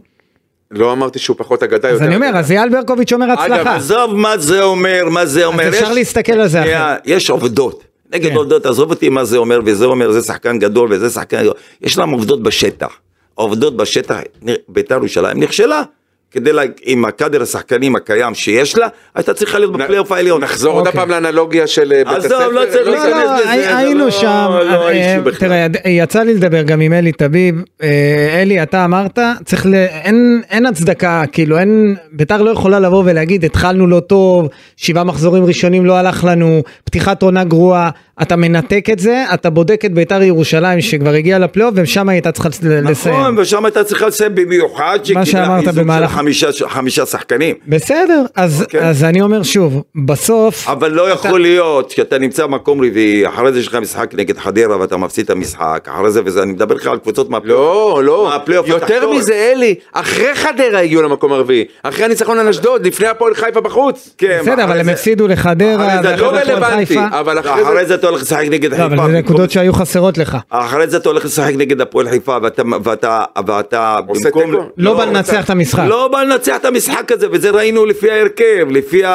[SPEAKER 4] לא אמרתי שהוא פחות אגדה
[SPEAKER 1] אז
[SPEAKER 4] יותר.
[SPEAKER 1] אני אומר,
[SPEAKER 4] אגדה.
[SPEAKER 1] אז אייל ברקוביץ' אומר
[SPEAKER 2] אגב,
[SPEAKER 1] הצלחה.
[SPEAKER 2] עזוב מה זה אומר, מה זה אומר.
[SPEAKER 1] אפשר
[SPEAKER 2] יש-
[SPEAKER 1] להסתכל על זה
[SPEAKER 2] שנייה, יש עובדות. נגד
[SPEAKER 1] כן.
[SPEAKER 2] עובדות, עזוב אותי מה זה אומר, וזה אומר, זה שחקן גדול, וזה שחקן גדול. יש להם עובדות בשטח. עובדות בשטח, נר- בית"ר ירושלים נכשלה. כדי לה, עם הקאדר השחקנים הקיים שיש לה, הייתה צריכה להיות בפלייאוף העליון.
[SPEAKER 4] נחזור עוד
[SPEAKER 1] אוקיי.
[SPEAKER 4] פעם לאנלוגיה של אה, בית
[SPEAKER 2] עזוב,
[SPEAKER 4] הספר.
[SPEAKER 2] לא צריך
[SPEAKER 1] לא,
[SPEAKER 2] להיכנס
[SPEAKER 1] לא,
[SPEAKER 2] לזה,
[SPEAKER 1] הי-
[SPEAKER 2] זה
[SPEAKER 1] היינו
[SPEAKER 2] לא-
[SPEAKER 1] שם,
[SPEAKER 2] לא
[SPEAKER 1] אה,
[SPEAKER 2] האישיו בכלל.
[SPEAKER 1] תראה, יצא לי לדבר גם עם אלי טביב, אה, אלי אתה אמרת, צריך ל... אין, אין הצדקה, כאילו אין, ביתר לא יכולה לבוא ולהגיד התחלנו לא טוב, שבעה מחזורים ראשונים לא הלך לנו, פתיחת עונה גרועה, אתה מנתק את זה, אתה בודק את ביתר ירושלים שכבר הגיעה לפלייאוף ושם הייתה צריכה לס- לסיים.
[SPEAKER 2] נכון, ושם הייתה צריכה לסיים במיוחד,
[SPEAKER 1] שאמרת
[SPEAKER 2] חיזוק של
[SPEAKER 1] במהלך-
[SPEAKER 2] חמישה- חמישה שחקנים.
[SPEAKER 1] בסדר, אז,
[SPEAKER 2] אוקיי.
[SPEAKER 1] אז אני אומר שוב, בסוף,
[SPEAKER 2] אבל לא יכול להיות שאתה נמצא במקום רביעי, אחרי זה יש לך משחק נגד חדרה ואתה מפסיד את המשחק, אחרי זה וזה, אני מדבר איתך על קבוצות מהפלייאוף.
[SPEAKER 4] לא, לא,
[SPEAKER 2] מהפלייאוף
[SPEAKER 4] יותר
[SPEAKER 2] התחתון.
[SPEAKER 4] מזה אלי, אחרי חדרה הגיעו למקום הרביעי, אחרי הניצחון על אשדוד, לפני הפועל חיפה בחוץ.
[SPEAKER 2] כן,
[SPEAKER 1] בסדר,
[SPEAKER 2] אחרי
[SPEAKER 1] אבל הם
[SPEAKER 2] זה-
[SPEAKER 1] הפסידו לחדרה,
[SPEAKER 2] אחרי זה
[SPEAKER 1] ואחרי
[SPEAKER 4] לא
[SPEAKER 1] זה הפועל
[SPEAKER 4] רלוונטי,
[SPEAKER 1] חיפה.
[SPEAKER 4] אבל לא, אחרי
[SPEAKER 2] אחרי
[SPEAKER 4] זה...
[SPEAKER 2] זה אתה הולך לשחק נגד
[SPEAKER 1] לא,
[SPEAKER 2] חיפה.
[SPEAKER 1] אבל זה
[SPEAKER 2] במקום-
[SPEAKER 1] נקודות שהיו חסרות לך.
[SPEAKER 2] אחרי זה אתה הולך לשחק נגד הפועל חיפה ואתה ואתה ואתה
[SPEAKER 4] עושה תיקו.
[SPEAKER 1] לא בא לנצח את המשחק.
[SPEAKER 2] לא בא לנצח את המשחק הזה וזה ראינו לפי ההרכב לפי ה...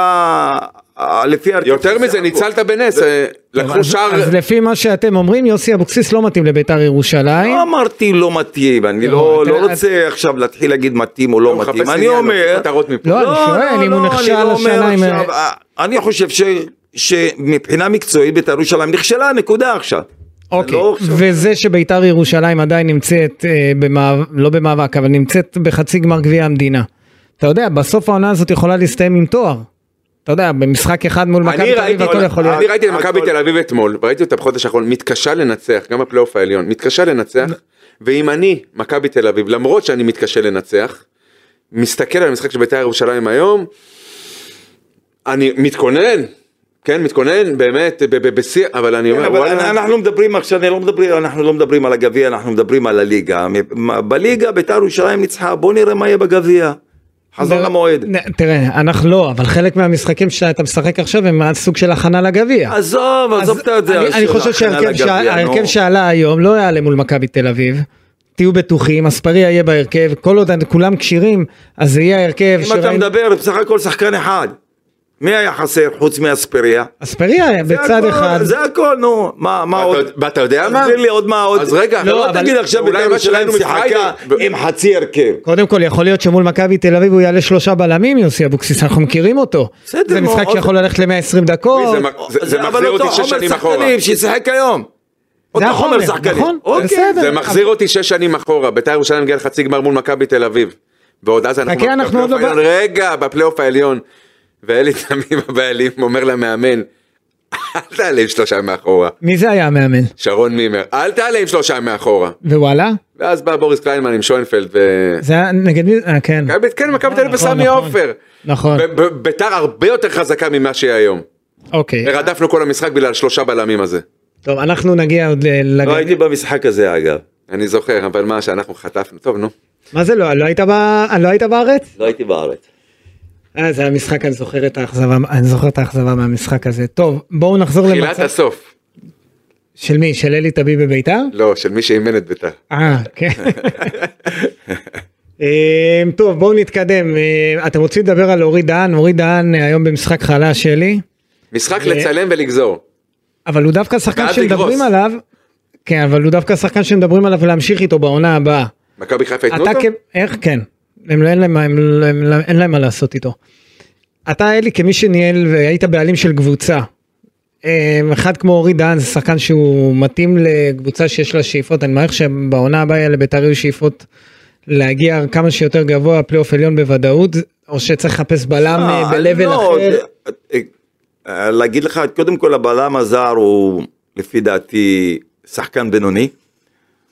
[SPEAKER 2] ה- לפי ההרכב.
[SPEAKER 4] יותר מזה, ניצלת בנס, אה, לקחו
[SPEAKER 1] אז-
[SPEAKER 4] שער...
[SPEAKER 1] אז לפי מה שאתם אומרים, יוסי אבוקסיס לא מתאים לביתר ירושלים.
[SPEAKER 2] לא אמרתי לא מתאים אני
[SPEAKER 1] לא,
[SPEAKER 2] לא
[SPEAKER 1] אתה-
[SPEAKER 2] לא רוצה עכשיו להתחיל להגיד מתאים או לא
[SPEAKER 4] מחפש
[SPEAKER 2] מתאים אני
[SPEAKER 4] עניין, מחפש
[SPEAKER 2] אומר
[SPEAKER 4] כותרות מפה.
[SPEAKER 1] לא, אני שואל אם הוא
[SPEAKER 2] לא,
[SPEAKER 1] נכשל
[SPEAKER 2] אני לא אומר
[SPEAKER 1] השנה עם-
[SPEAKER 2] עכשיו, אה, אני חושב ש... שמבחינה מקצועית בית"ר ירושלים נכשלה נקודה עכשיו.
[SPEAKER 1] אוקיי.
[SPEAKER 2] לא עכשיו.
[SPEAKER 1] וזה שביתר ירושלים עדיין נמצאת, אה, במאב- לא במאבק, אבל נמצאת בחצי גמר גביע המדינה. אתה יודע, בסוף העונה הזאת יכולה להסתיים עם תואר. אתה יודע, במשחק אחד מול מכבי
[SPEAKER 4] אני
[SPEAKER 1] תל אביב
[SPEAKER 4] ראיתי,
[SPEAKER 1] הכל יכול להיות.
[SPEAKER 4] אני ראיתי את
[SPEAKER 2] הכל-
[SPEAKER 4] מכבי תל אביב אתמול, וראיתי אותה בחודש האחרון, מתקשה לנצח, גם בפלייאוף העליון, מתקשה לנצח, ואם אני, מכבי תל אביב, למרות שאני מתקשה לנצח, מסתכל על המשחק של בית"ר ירושלים היום, אני מתכונן, כן, מתכונן, באמת, ב- ב- בשיא, אבל אני
[SPEAKER 2] כן,
[SPEAKER 4] אומר,
[SPEAKER 2] אבל
[SPEAKER 4] וואלה,
[SPEAKER 2] אנחנו מדברים עכשיו, אני לא מדברים, אנחנו לא מדברים על הגביע, אנחנו מדברים על הליגה. מ- בליגה בית"ר ירושלים ניצחה, בוא נראה מה יהיה בגביע. חזון
[SPEAKER 1] ב-
[SPEAKER 2] למועד.
[SPEAKER 1] נ- תראה, אנחנו לא, אבל חלק מהמשחקים שאתה משחק עכשיו הם סוג של הכנה לגביע.
[SPEAKER 2] עזוב,
[SPEAKER 1] אז
[SPEAKER 2] עזוב את זה.
[SPEAKER 1] אני- אני חושב שההרכב שה- ההרכב שעלה היום לא יעלה מול מכבי תל אביב. תהיו בטוחים, אספריה יהיה בהרכב, כל עוד כולם כשירים, אז זה יהיה ההרכב
[SPEAKER 2] אם אתה
[SPEAKER 1] שראינו.
[SPEAKER 2] מדבר, בסך הכל שחקן אחד. מי היה חסר חוץ מאספריה?
[SPEAKER 1] אספריה
[SPEAKER 2] זה
[SPEAKER 1] בצד
[SPEAKER 2] הכל,
[SPEAKER 1] אחד.
[SPEAKER 2] זה הכל, נו. מה מה עוד?
[SPEAKER 4] ואתה- ואתה יודע מה?
[SPEAKER 2] תסביר לי עוד מה עוד.
[SPEAKER 4] אז רגע,
[SPEAKER 2] לא,
[SPEAKER 1] לא,
[SPEAKER 2] לא
[SPEAKER 1] אבל-
[SPEAKER 2] תגיד עכשיו
[SPEAKER 4] אולי
[SPEAKER 2] בית"ר
[SPEAKER 4] מה שראינו
[SPEAKER 2] ירושלים שיחקה
[SPEAKER 4] מפריידי- ב-
[SPEAKER 2] עם חצי הרכב.
[SPEAKER 1] קודם כל יכול להיות שמול מכבי תל אביב הוא יעלה שלושה בלמים יוסי אבוקסיס אנחנו מכירים אותו.
[SPEAKER 2] בסדר,
[SPEAKER 1] זה משחק
[SPEAKER 2] מאוד.
[SPEAKER 1] שיכול ללכת ל-120 דקות.
[SPEAKER 4] זה מק- זה- זה
[SPEAKER 2] אבל
[SPEAKER 4] מחזיר
[SPEAKER 2] אותו
[SPEAKER 4] אותי שש
[SPEAKER 2] חומר
[SPEAKER 4] שנים אחורה.
[SPEAKER 2] שחקנים שישחק היום. אותו חומר שחקנים.
[SPEAKER 1] נכון?
[SPEAKER 2] אוקיי.
[SPEAKER 1] בסדר.
[SPEAKER 4] זה מחזיר אותי שש שנים אחורה, בית"ר ירושלים הגיע לחצי גמר מול מכבי תל אביב. ועוד אז אנחנו...
[SPEAKER 1] חכה, אנחנו עוד
[SPEAKER 4] בפלייאוף
[SPEAKER 1] לא
[SPEAKER 4] העליון, רגע, בפלייאוף העליון. ואלי תמים הבעלים אומר למאמן, אל תעלה עם שלושה מאחורה.
[SPEAKER 1] מי זה היה המאמן?
[SPEAKER 4] שרון מימר, אל תעלה עם שלושה מאחורה.
[SPEAKER 1] ווואלה?
[SPEAKER 4] ואז בא בוריס קליינמן עם שוינפלד ו...
[SPEAKER 1] <laughs> זה היה נגד מי? אה, כן.
[SPEAKER 4] מכבי- כן, מכבי תל אביב
[SPEAKER 1] נכון,
[SPEAKER 4] וסמי
[SPEAKER 1] נכון.
[SPEAKER 4] עופר.
[SPEAKER 1] נכון.
[SPEAKER 4] ב- ב- ביתר הרבה יותר חזקה ממה שהיא היום.
[SPEAKER 1] אוקיי.
[SPEAKER 4] רדפנו כל המשחק בגלל שלושה בלמים הזה.
[SPEAKER 1] טוב אנחנו נגיע עוד ל...
[SPEAKER 2] לא
[SPEAKER 1] לגביע.
[SPEAKER 2] הייתי במשחק הזה אגב.
[SPEAKER 4] אני זוכר, אבל מה שאנחנו חטפנו, טוב נו.
[SPEAKER 1] מה זה לא? לא היית ב- לא היית בארץ?
[SPEAKER 2] לא הייתי בארץ.
[SPEAKER 1] אה, זה המשחק, אני זוכר את האכזבה, אני זוכר את האכזבה מהמשחק הזה. טוב, בואו נחזור
[SPEAKER 4] תחילת
[SPEAKER 1] למצב
[SPEAKER 4] הסוף.
[SPEAKER 1] של מי? של אלי טביב בביתר?
[SPEAKER 4] לא, של מי שאימן את ביתר.
[SPEAKER 1] אה,
[SPEAKER 4] <laughs>
[SPEAKER 1] כן. אה, טוב, בואו נתקדם. אה, אתם רוצים לדבר על אורי דהן? אורי דהן אה, היום במשחק חלש שלי,
[SPEAKER 4] משחק לצלם ולגזור.
[SPEAKER 1] אבל הוא דווקא שחקן
[SPEAKER 4] ואז
[SPEAKER 1] שמדברים
[SPEAKER 4] לגרוס.
[SPEAKER 1] עליו. כן, אבל הוא דווקא שחקן שמדברים עליו ולהמשיך איתו בעונה הבאה.
[SPEAKER 4] מכבי חיפה יתנו
[SPEAKER 1] אתה
[SPEAKER 4] אותו?
[SPEAKER 1] כ... איך כן, הם, לא- אין, להם, הם, לא- הם, לא- אין להם מה לעשות איתו. אתה אלי כמי שניהל והיית בעלים של קבוצה. אמ, אחד כמו אורי דהן זה שחקן שהוא מתאים לקבוצה שיש לה שאיפות אני מעריך שבעונה הבאה לבית"ר יהיו שאיפות להגיע כמה שיותר גבוה פלייאוף עליון בוודאות או שצריך לחפש בלם אה,
[SPEAKER 2] אה,
[SPEAKER 1] ב-level
[SPEAKER 2] לא,
[SPEAKER 1] אחר.
[SPEAKER 2] אה, אה, אה, להגיד לך, קודם כל הבלם הזר הוא לפי דעתי שחקן בינוני.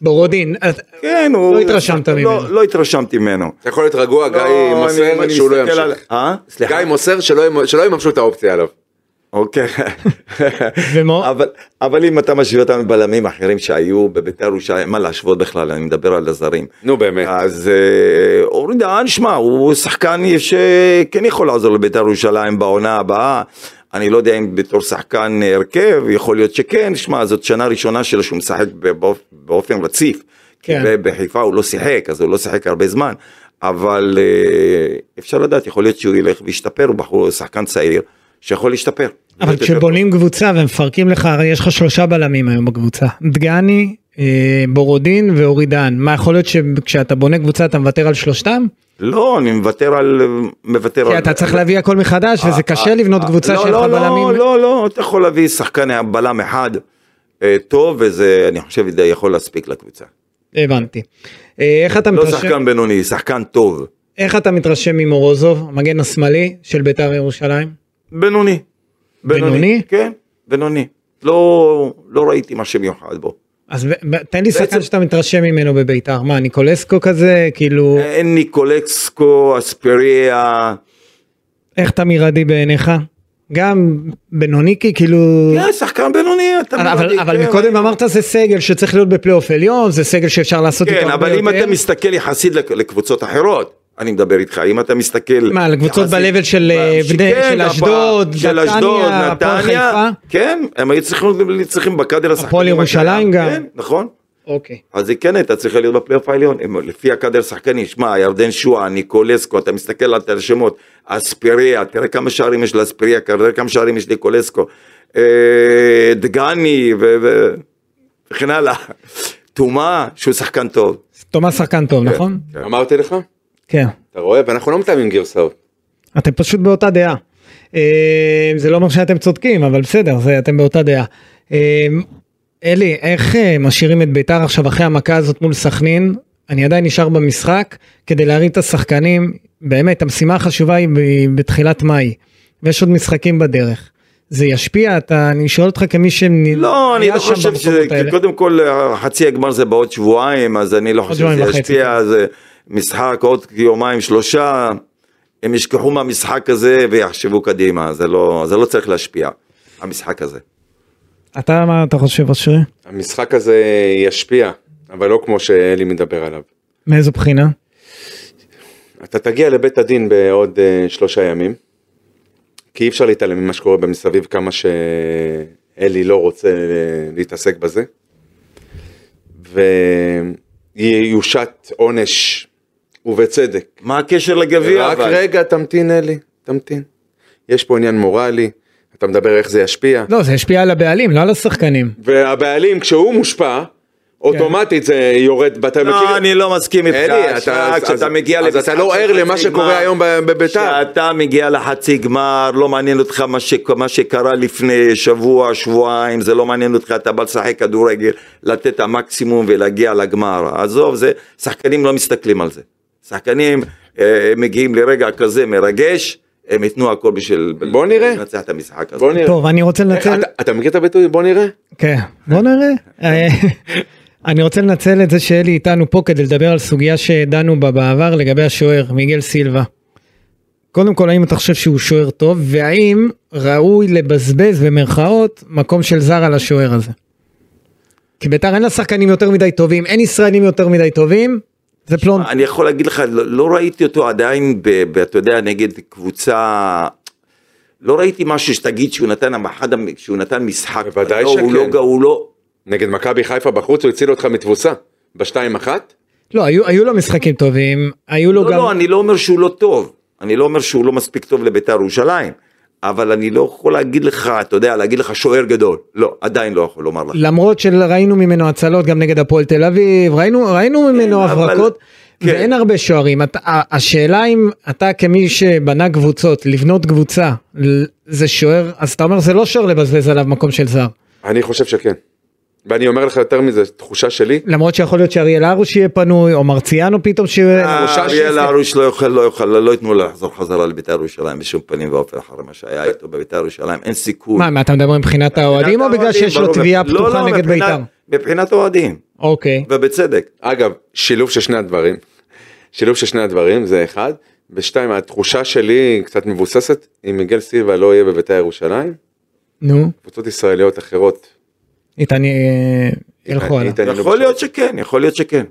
[SPEAKER 1] בורודין. אה,
[SPEAKER 2] כן, הוא...
[SPEAKER 1] לא התרשמת
[SPEAKER 2] לא-
[SPEAKER 1] ממנו.
[SPEAKER 2] לא התרשמתי ממנו.
[SPEAKER 4] אתה יכול להיות רגוע, גיא
[SPEAKER 2] לא, אני-
[SPEAKER 4] מוסר
[SPEAKER 2] אני
[SPEAKER 4] שהוא לא
[SPEAKER 2] מסתכל על-
[SPEAKER 4] ימשיך.
[SPEAKER 2] אה? סליחה.
[SPEAKER 4] גיא מוסר שלא ימ- שלא יממשו את האופציה עליו.
[SPEAKER 2] אוקיי.
[SPEAKER 1] ומו-
[SPEAKER 2] אבל- אבל אם אתה משווה אותם לבלמים אחרים שהיו בביתר ירושלים, מה להשוות בכלל, אני מדבר על הזרים.
[SPEAKER 4] נו באמת.
[SPEAKER 2] אז אה, אורי כן דהן, שמע, הוא שחקן שכן יכול לעזור לבית"ר ירושלים בעונה הבאה, אני לא יודע אם בתור שחקן אה, הרכב, יכול להיות שכן, שמע, זאת שנה ראשונה שלו שהוא משחק באופ- באופן רציף.
[SPEAKER 1] כן.
[SPEAKER 2] כן. בחיפה הוא לא שיחק, אז הוא לא שיחק הרבה זמן, אבל אה, אפשר לדעת, יכול להיות שהוא ילך וישתפר, הוא בחור, שחקן צעיר, שיכול להשתפר.
[SPEAKER 1] אבל
[SPEAKER 2] לתת
[SPEAKER 1] כשבונים קבוצה ומפרקים לך, הרי יש לך שלושה בלמים היום בקבוצה. דגני, אה, בורודין ואורידן. מה יכול להיות שכשאתה בונה קבוצה אתה מוותר על שלושתם?
[SPEAKER 2] לא, אני מוותר על... מוותר
[SPEAKER 1] כי
[SPEAKER 2] על...
[SPEAKER 1] אתה צריך להביא הכל מחדש וזה קשה
[SPEAKER 2] לא, אה,
[SPEAKER 1] לבנות
[SPEAKER 2] אה,
[SPEAKER 1] קבוצה
[SPEAKER 2] לא,
[SPEAKER 1] שיש לך
[SPEAKER 2] לא,
[SPEAKER 1] בלמים.
[SPEAKER 2] לא, לא, לא, אתה יכול להביא שחקן בלם אחד אה, טוב, וזה, אני חושב, זה יכול להספיק לקבוצה.
[SPEAKER 1] הבנתי. אה, איך אתה
[SPEAKER 2] לא
[SPEAKER 1] מתרשם-
[SPEAKER 2] שחקן בינוני, שחקן טוב.
[SPEAKER 1] איך אתה מתרשם ממורוזוב, המגן השמאלי של בית"ר ירושלים?
[SPEAKER 2] בינוני.
[SPEAKER 1] בינוני?
[SPEAKER 2] כן, בינוני. לא, לא ראיתי משהו מיוחד בו.
[SPEAKER 1] אז ב- ב- תן לי שחקן
[SPEAKER 2] בעצם-
[SPEAKER 1] שאתה מתרשם ממנו בבית"ר. מה, ניקולסקו כזה? כאילו,
[SPEAKER 2] אין ניקולקסקו, אספריה,
[SPEAKER 1] איך תמיר עדי בעיניך? גם בינוניקי, כאילו...
[SPEAKER 2] כן, שחקן בינוני, אתה
[SPEAKER 1] אבל,
[SPEAKER 2] בינוני,
[SPEAKER 1] אבל
[SPEAKER 2] כן.
[SPEAKER 1] מקודם אמרת זה סגל שצריך להיות בפלייאוף עליון, זה סגל שאפשר לעשות איתו
[SPEAKER 2] כן,
[SPEAKER 1] הרבה
[SPEAKER 2] אבל אם
[SPEAKER 1] יותר.
[SPEAKER 2] אתה מסתכל יחסית לק- לקבוצות אחרות, אני מדבר איתך, אם אתה מסתכל...
[SPEAKER 1] מה, לקבוצות
[SPEAKER 2] יחסית-
[SPEAKER 1] ב-level של, אה,
[SPEAKER 2] שכן,
[SPEAKER 1] בני- של
[SPEAKER 2] הפ-
[SPEAKER 1] אשדוד,
[SPEAKER 2] של
[SPEAKER 1] נתניה,
[SPEAKER 2] אשדוד,
[SPEAKER 1] הפועל
[SPEAKER 2] נתניה,
[SPEAKER 1] חיפה?
[SPEAKER 2] כן, הם היו צריכים, צריכים בקאדר השחקנים.
[SPEAKER 1] ירושלים
[SPEAKER 2] הקיים,
[SPEAKER 1] גם.
[SPEAKER 2] כן, נכון.
[SPEAKER 1] אוקיי.
[SPEAKER 2] אז היא כן הייתה צריכה להיות בפלייאוף העליון, הם- לפי הקאדר שחקנים, שמע, ירדן שואה, ניקולסקו, אתה מסתכל על הרשמות, אספיריה, תראה כמה שערים יש לאספיריה, תראה כמה שערים יש לניקולסקו, אה, דגני ו- ו- וכן הלאה, תומה, שהוא שחקן טוב.
[SPEAKER 1] תומא שחקן טוב, נכון?
[SPEAKER 2] כן.
[SPEAKER 4] אמרתי לך?
[SPEAKER 1] כן.
[SPEAKER 4] אתה רואה? ואנחנו לא מתאמים גרסאות.
[SPEAKER 1] אתם פשוט באותה דעה. אה, זה לא אומר שאתם צודקים, אבל בסדר, זה, אתם באותה דעה. אה, אלי, איך אה, משאירים את ביתר עכשיו אחרי המכה הזאת מול סכנין? אני עדיין נשאר במשחק כדי להרים את השחקנים. באמת, המשימה החשובה היא ב- בתחילת מאי, ויש עוד משחקים בדרך. זה ישפיע? אתה, אני שואל אותך כמי שהיה
[SPEAKER 2] לא, אני לא
[SPEAKER 1] שם
[SPEAKER 2] חושב שזה,
[SPEAKER 1] במקומות האלה.
[SPEAKER 2] קודם כל אה, חצי הגמר זה בעוד שבועיים, אז אני לא חושב
[SPEAKER 1] שבועיים
[SPEAKER 2] שזה
[SPEAKER 1] וחצי,
[SPEAKER 2] ישפיע, זה משחק עוד יומיים שלושה, הם ישכחו מהמשחק הזה ויחשבו קדימה, זה לא, זה לא צריך להשפיע, המשחק הזה.
[SPEAKER 1] אתה, מה אתה חושב, אשרי?
[SPEAKER 4] המשחק הזה ישפיע, אבל לא כמו שאלי מדבר עליו.
[SPEAKER 1] מאיזו בחינה?
[SPEAKER 4] אתה תגיע לבית הדין בעוד uh, שלושה ימים, כי אי אפשר להתעלם ממה שקורה במסביב כמה שאלי לא רוצה uh, להתעסק בזה. ויושת עונש, ובצדק.
[SPEAKER 2] מה הקשר לגביע?
[SPEAKER 4] רק
[SPEAKER 2] אבל?
[SPEAKER 4] רגע, תמתין אלי, תמתין. יש פה עניין מורלי, אתה מדבר איך זה ישפיע.
[SPEAKER 1] לא, זה ישפיע על הבעלים, לא על השחקנים.
[SPEAKER 4] והבעלים, כשהוא מושפע, אוטומטית זה יורד, ואתה מכיר...
[SPEAKER 2] לא, אני לא מסכים איתך.
[SPEAKER 4] אלי, אתה-
[SPEAKER 2] שמע,
[SPEAKER 4] אז-
[SPEAKER 2] כשאתה
[SPEAKER 4] אז-
[SPEAKER 2] מגיע
[SPEAKER 4] אז
[SPEAKER 2] למשחק
[SPEAKER 4] אתה לא
[SPEAKER 2] של
[SPEAKER 4] ער למה
[SPEAKER 2] חצי
[SPEAKER 4] שקורה
[SPEAKER 2] גמר,
[SPEAKER 4] היום ב- בביתר.
[SPEAKER 2] כשאתה מגיע לחצי גמר, לא מעניין אותך מה ש- מה שקרה לפני שבוע, שבועיים, זה לא מעניין אותך, אתה בא לשחק כדורגל, לתת את המקסימום ולהגיע לגמר. עזוב, זה, שחקנים לא מסתכלים על זה. שחקנים אה, מגיעים לרגע כזה מרגש, הם ייתנו הכל בשביל...
[SPEAKER 4] בוא נראה.
[SPEAKER 2] לנצח את המשחק הזה.
[SPEAKER 4] בוא נראה.
[SPEAKER 1] טוב, אני רוצה
[SPEAKER 4] איך-
[SPEAKER 1] לנצל...
[SPEAKER 4] אתה- אתה מכיר את הביטוי בוא נראה?
[SPEAKER 1] כן, בוא נראה. אה, <laughs> אני רוצה לנצל את זה שאלי איתנו פה כדי לדבר על סוגיה שדנו בה בעבר לגבי השוער, מיגל סילבה. קודם כל, האם אתה חושב שהוא שוער טוב, והאם ראוי לבזבז במרכאות מקום של זר על השוער הזה? כי ביתר אין לה שחקנים יותר מדי טובים, אין ישראלים יותר מדי טובים, זה פלונט.
[SPEAKER 2] אני יכול להגיד לך, לא, לא ראיתי אותו עדיין, ב, ב, אתה יודע, נגד קבוצה... לא ראיתי משהו שתגיד שהוא נתן המחד, שהוא נתן משחק.
[SPEAKER 4] בוודאי
[SPEAKER 2] לא, הוא
[SPEAKER 4] שכן.
[SPEAKER 2] לא, ג- הוא לא,
[SPEAKER 4] נגד מכבי חיפה בחוץ הוא הציל אותך מתבוסה. בשתיים אחת?
[SPEAKER 1] לא, היו היו לו משחקים טובים, היו לו
[SPEAKER 2] לא, לא,
[SPEAKER 1] גם...
[SPEAKER 2] אני לא אומר שהוא לא טוב. אני לא אומר שהוא לא מספיק טוב לבית"ר ירושלים. אבל אני לא יכול להגיד לך, אתה יודע, להגיד לך שוער גדול. לא, עדיין לא יכול לומר לך.
[SPEAKER 1] למרות שראינו ממנו הצלות גם נגד הפועל תל אביב, ראינו, ראינו ממנו
[SPEAKER 2] אבל-
[SPEAKER 1] הברקות,
[SPEAKER 2] כן.
[SPEAKER 1] ואין הרבה שוערים. אתה- ה- השאלה אם אתה כמי שבנה קבוצות, לבנות קבוצה, ל- זה שוער, אז אתה אומר זה לא שוער לבזבז עליו מקום של זר.
[SPEAKER 4] אני חושב שכן. ואני אומר לך יותר מזה, תחושה שלי,
[SPEAKER 1] למרות שיכול להיות שאריאל הרוש יהיה פנוי, או מרציאנו פתאום
[SPEAKER 2] אה,
[SPEAKER 1] שיהיה...
[SPEAKER 4] שלושה
[SPEAKER 2] אריאל
[SPEAKER 4] שש-
[SPEAKER 2] הרוש לא יוכל, לא יוכל, לא ייתנו לו לחזור חזרה לבית"ר ירושלים בשום פנים ואופן אחרי מה שהיה איתו בבית"ר ירושלים. אין סיכוי.
[SPEAKER 1] מה, מה אתה מדבר מבחינת האוהדים, או בגלל שיש לו
[SPEAKER 2] ברור.
[SPEAKER 1] תביעה
[SPEAKER 2] לא,
[SPEAKER 1] פתוחה
[SPEAKER 2] לא,
[SPEAKER 1] נגד
[SPEAKER 2] מבחינת-
[SPEAKER 1] בית"ר?
[SPEAKER 2] מבחינת אוהדים,
[SPEAKER 1] אוקיי.
[SPEAKER 2] ובצדק.
[SPEAKER 4] אגב, שילוב של שני הדברים. שילוב של שני הדברים, זה אחד. ושתיים, התחושה שלי קצת מבוססת, אם מיגל סילבה לא יהיה בביתר ירושלים,
[SPEAKER 1] נו,
[SPEAKER 4] קבוצות ישראליות אחרות.
[SPEAKER 1] איתן אה, ילכו עליו.
[SPEAKER 4] יתעניינו
[SPEAKER 2] יכול להיות
[SPEAKER 4] בשם.
[SPEAKER 2] שכן, יכול להיות שכן.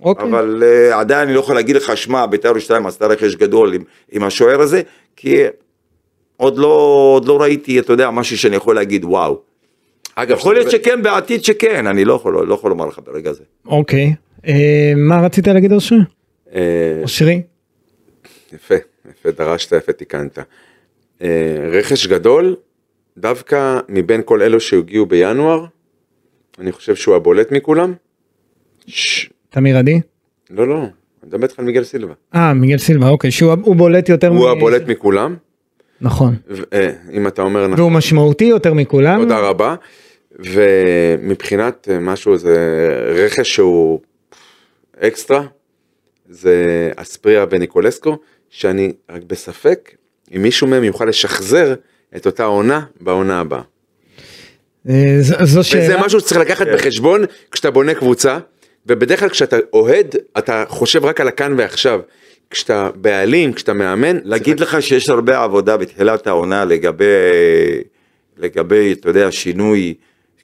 [SPEAKER 1] אוקיי.
[SPEAKER 2] אבל אה, עדיין אני לא יכול להגיד לך, שמע, בית"ר ירושלים עשתה רכש גדול עם- עם השוער הזה, כי עוד לא, עוד לא ראיתי, אתה יודע, משהו שאני יכול להגיד וואו.
[SPEAKER 5] אגב,
[SPEAKER 2] יכול להיות
[SPEAKER 5] שאתה-
[SPEAKER 2] שכן, בעתיד שכן, אני לא יכול, לא יכול לומר לך ברגע זה.
[SPEAKER 1] אוקיי. אה, מה רצית להגיד אושרי?
[SPEAKER 4] אה,
[SPEAKER 1] אושרי?
[SPEAKER 4] יפה, יפה דרשת, יפה תיקנת. אה, רכש גדול, דווקא מבין כל אלו שהגיעו בינואר, אני חושב שהוא הבולט מכולם. ש...
[SPEAKER 1] תמיר עדי?
[SPEAKER 4] לא, לא, אני מדבר איתך על מיגל סילבה.
[SPEAKER 1] אה, מיגל סילבה, אוקיי, שהוא הוא בולט יותר
[SPEAKER 4] הוא
[SPEAKER 1] מ-
[SPEAKER 4] הבולט מכולם,
[SPEAKER 1] נכון.
[SPEAKER 4] ו- אה, אם אתה אומר נכון.
[SPEAKER 1] והוא משמעותי יותר מכולם.
[SPEAKER 4] תודה רבה. ומבחינת אה, משהו זה רכש שהוא אקסטרה, זה אספריה וניקולסקו, שאני רק בספק אם מישהו מהם יוכל לשחזר את אותה עונה בעונה הבאה.
[SPEAKER 1] אה, ז- זו שאלה.
[SPEAKER 4] וזה משהו שצריך לקחת בחשבון כשאתה בונה קבוצה, ובדרך כלל כשאתה אוהד, אתה חושב רק על הכאן ועכשיו. כשאתה בעלים, כשאתה מאמן,
[SPEAKER 2] להגיד לך שיש הרבה עבודה בתחילת העונה לגבי, לגבי, אתה יודע, שינוי,